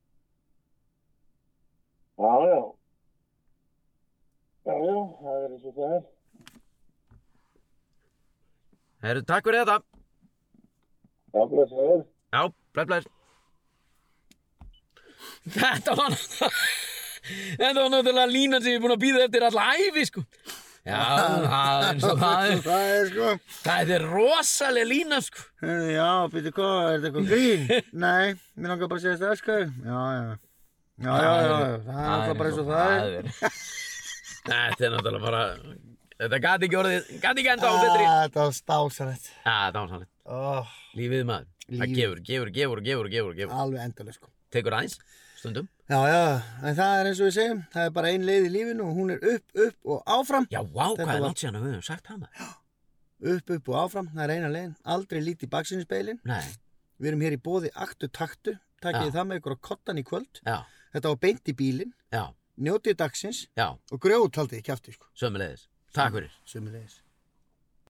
Já, já. Já, já, það er eins og það er. Herru, takk fyrir þetta. Það fyrir að segja þér. Já, blæð, blæð. Þetta var Þetta var náttúrulega línan sem ég er búin að býða eftir alla æfi, sko. Já, það er eins og það er. Það er sko, Það er rosaleg lína, sko. heyrðu, já, býttu hvað, er þetta eitthvað grín? Nei, mér langar bara að segja þetta elskaði. Já, já. Já, já, já, já, það er alltaf bara eins og það er. er. Þetta er náttúrulega bara, þetta gati ekki orðið, gati ekki enda á Ah, betri. Þetta var stásalett. Já, það var sannleitt. Oh, Lífið maður. Það Lífið. gefur, gefur, gefur, gefur, gefur, gefur. alveg endaleg sko. Tekur aðeins, stundum. Já, já, en það er eins og við segjum, það er bara ein leið í lífinu og hún er upp, upp og áfram. Já, vá, Þetta hvað er var- langt síðan að við höfum sagt það maður. Upp, upp og áfram, það er eina leiðin. Aldrei lítið baksinspeilin. Nei, Við erum hér í bóði aktu taktu. Takkið Já. það með ykkur á kottan í kvöld. já, Þetta var beint í bílinn. já, Njótið dagsins já, og grjót haldið ekki aftur sko. sömulegðis. Takk fyrir. Sumulegis.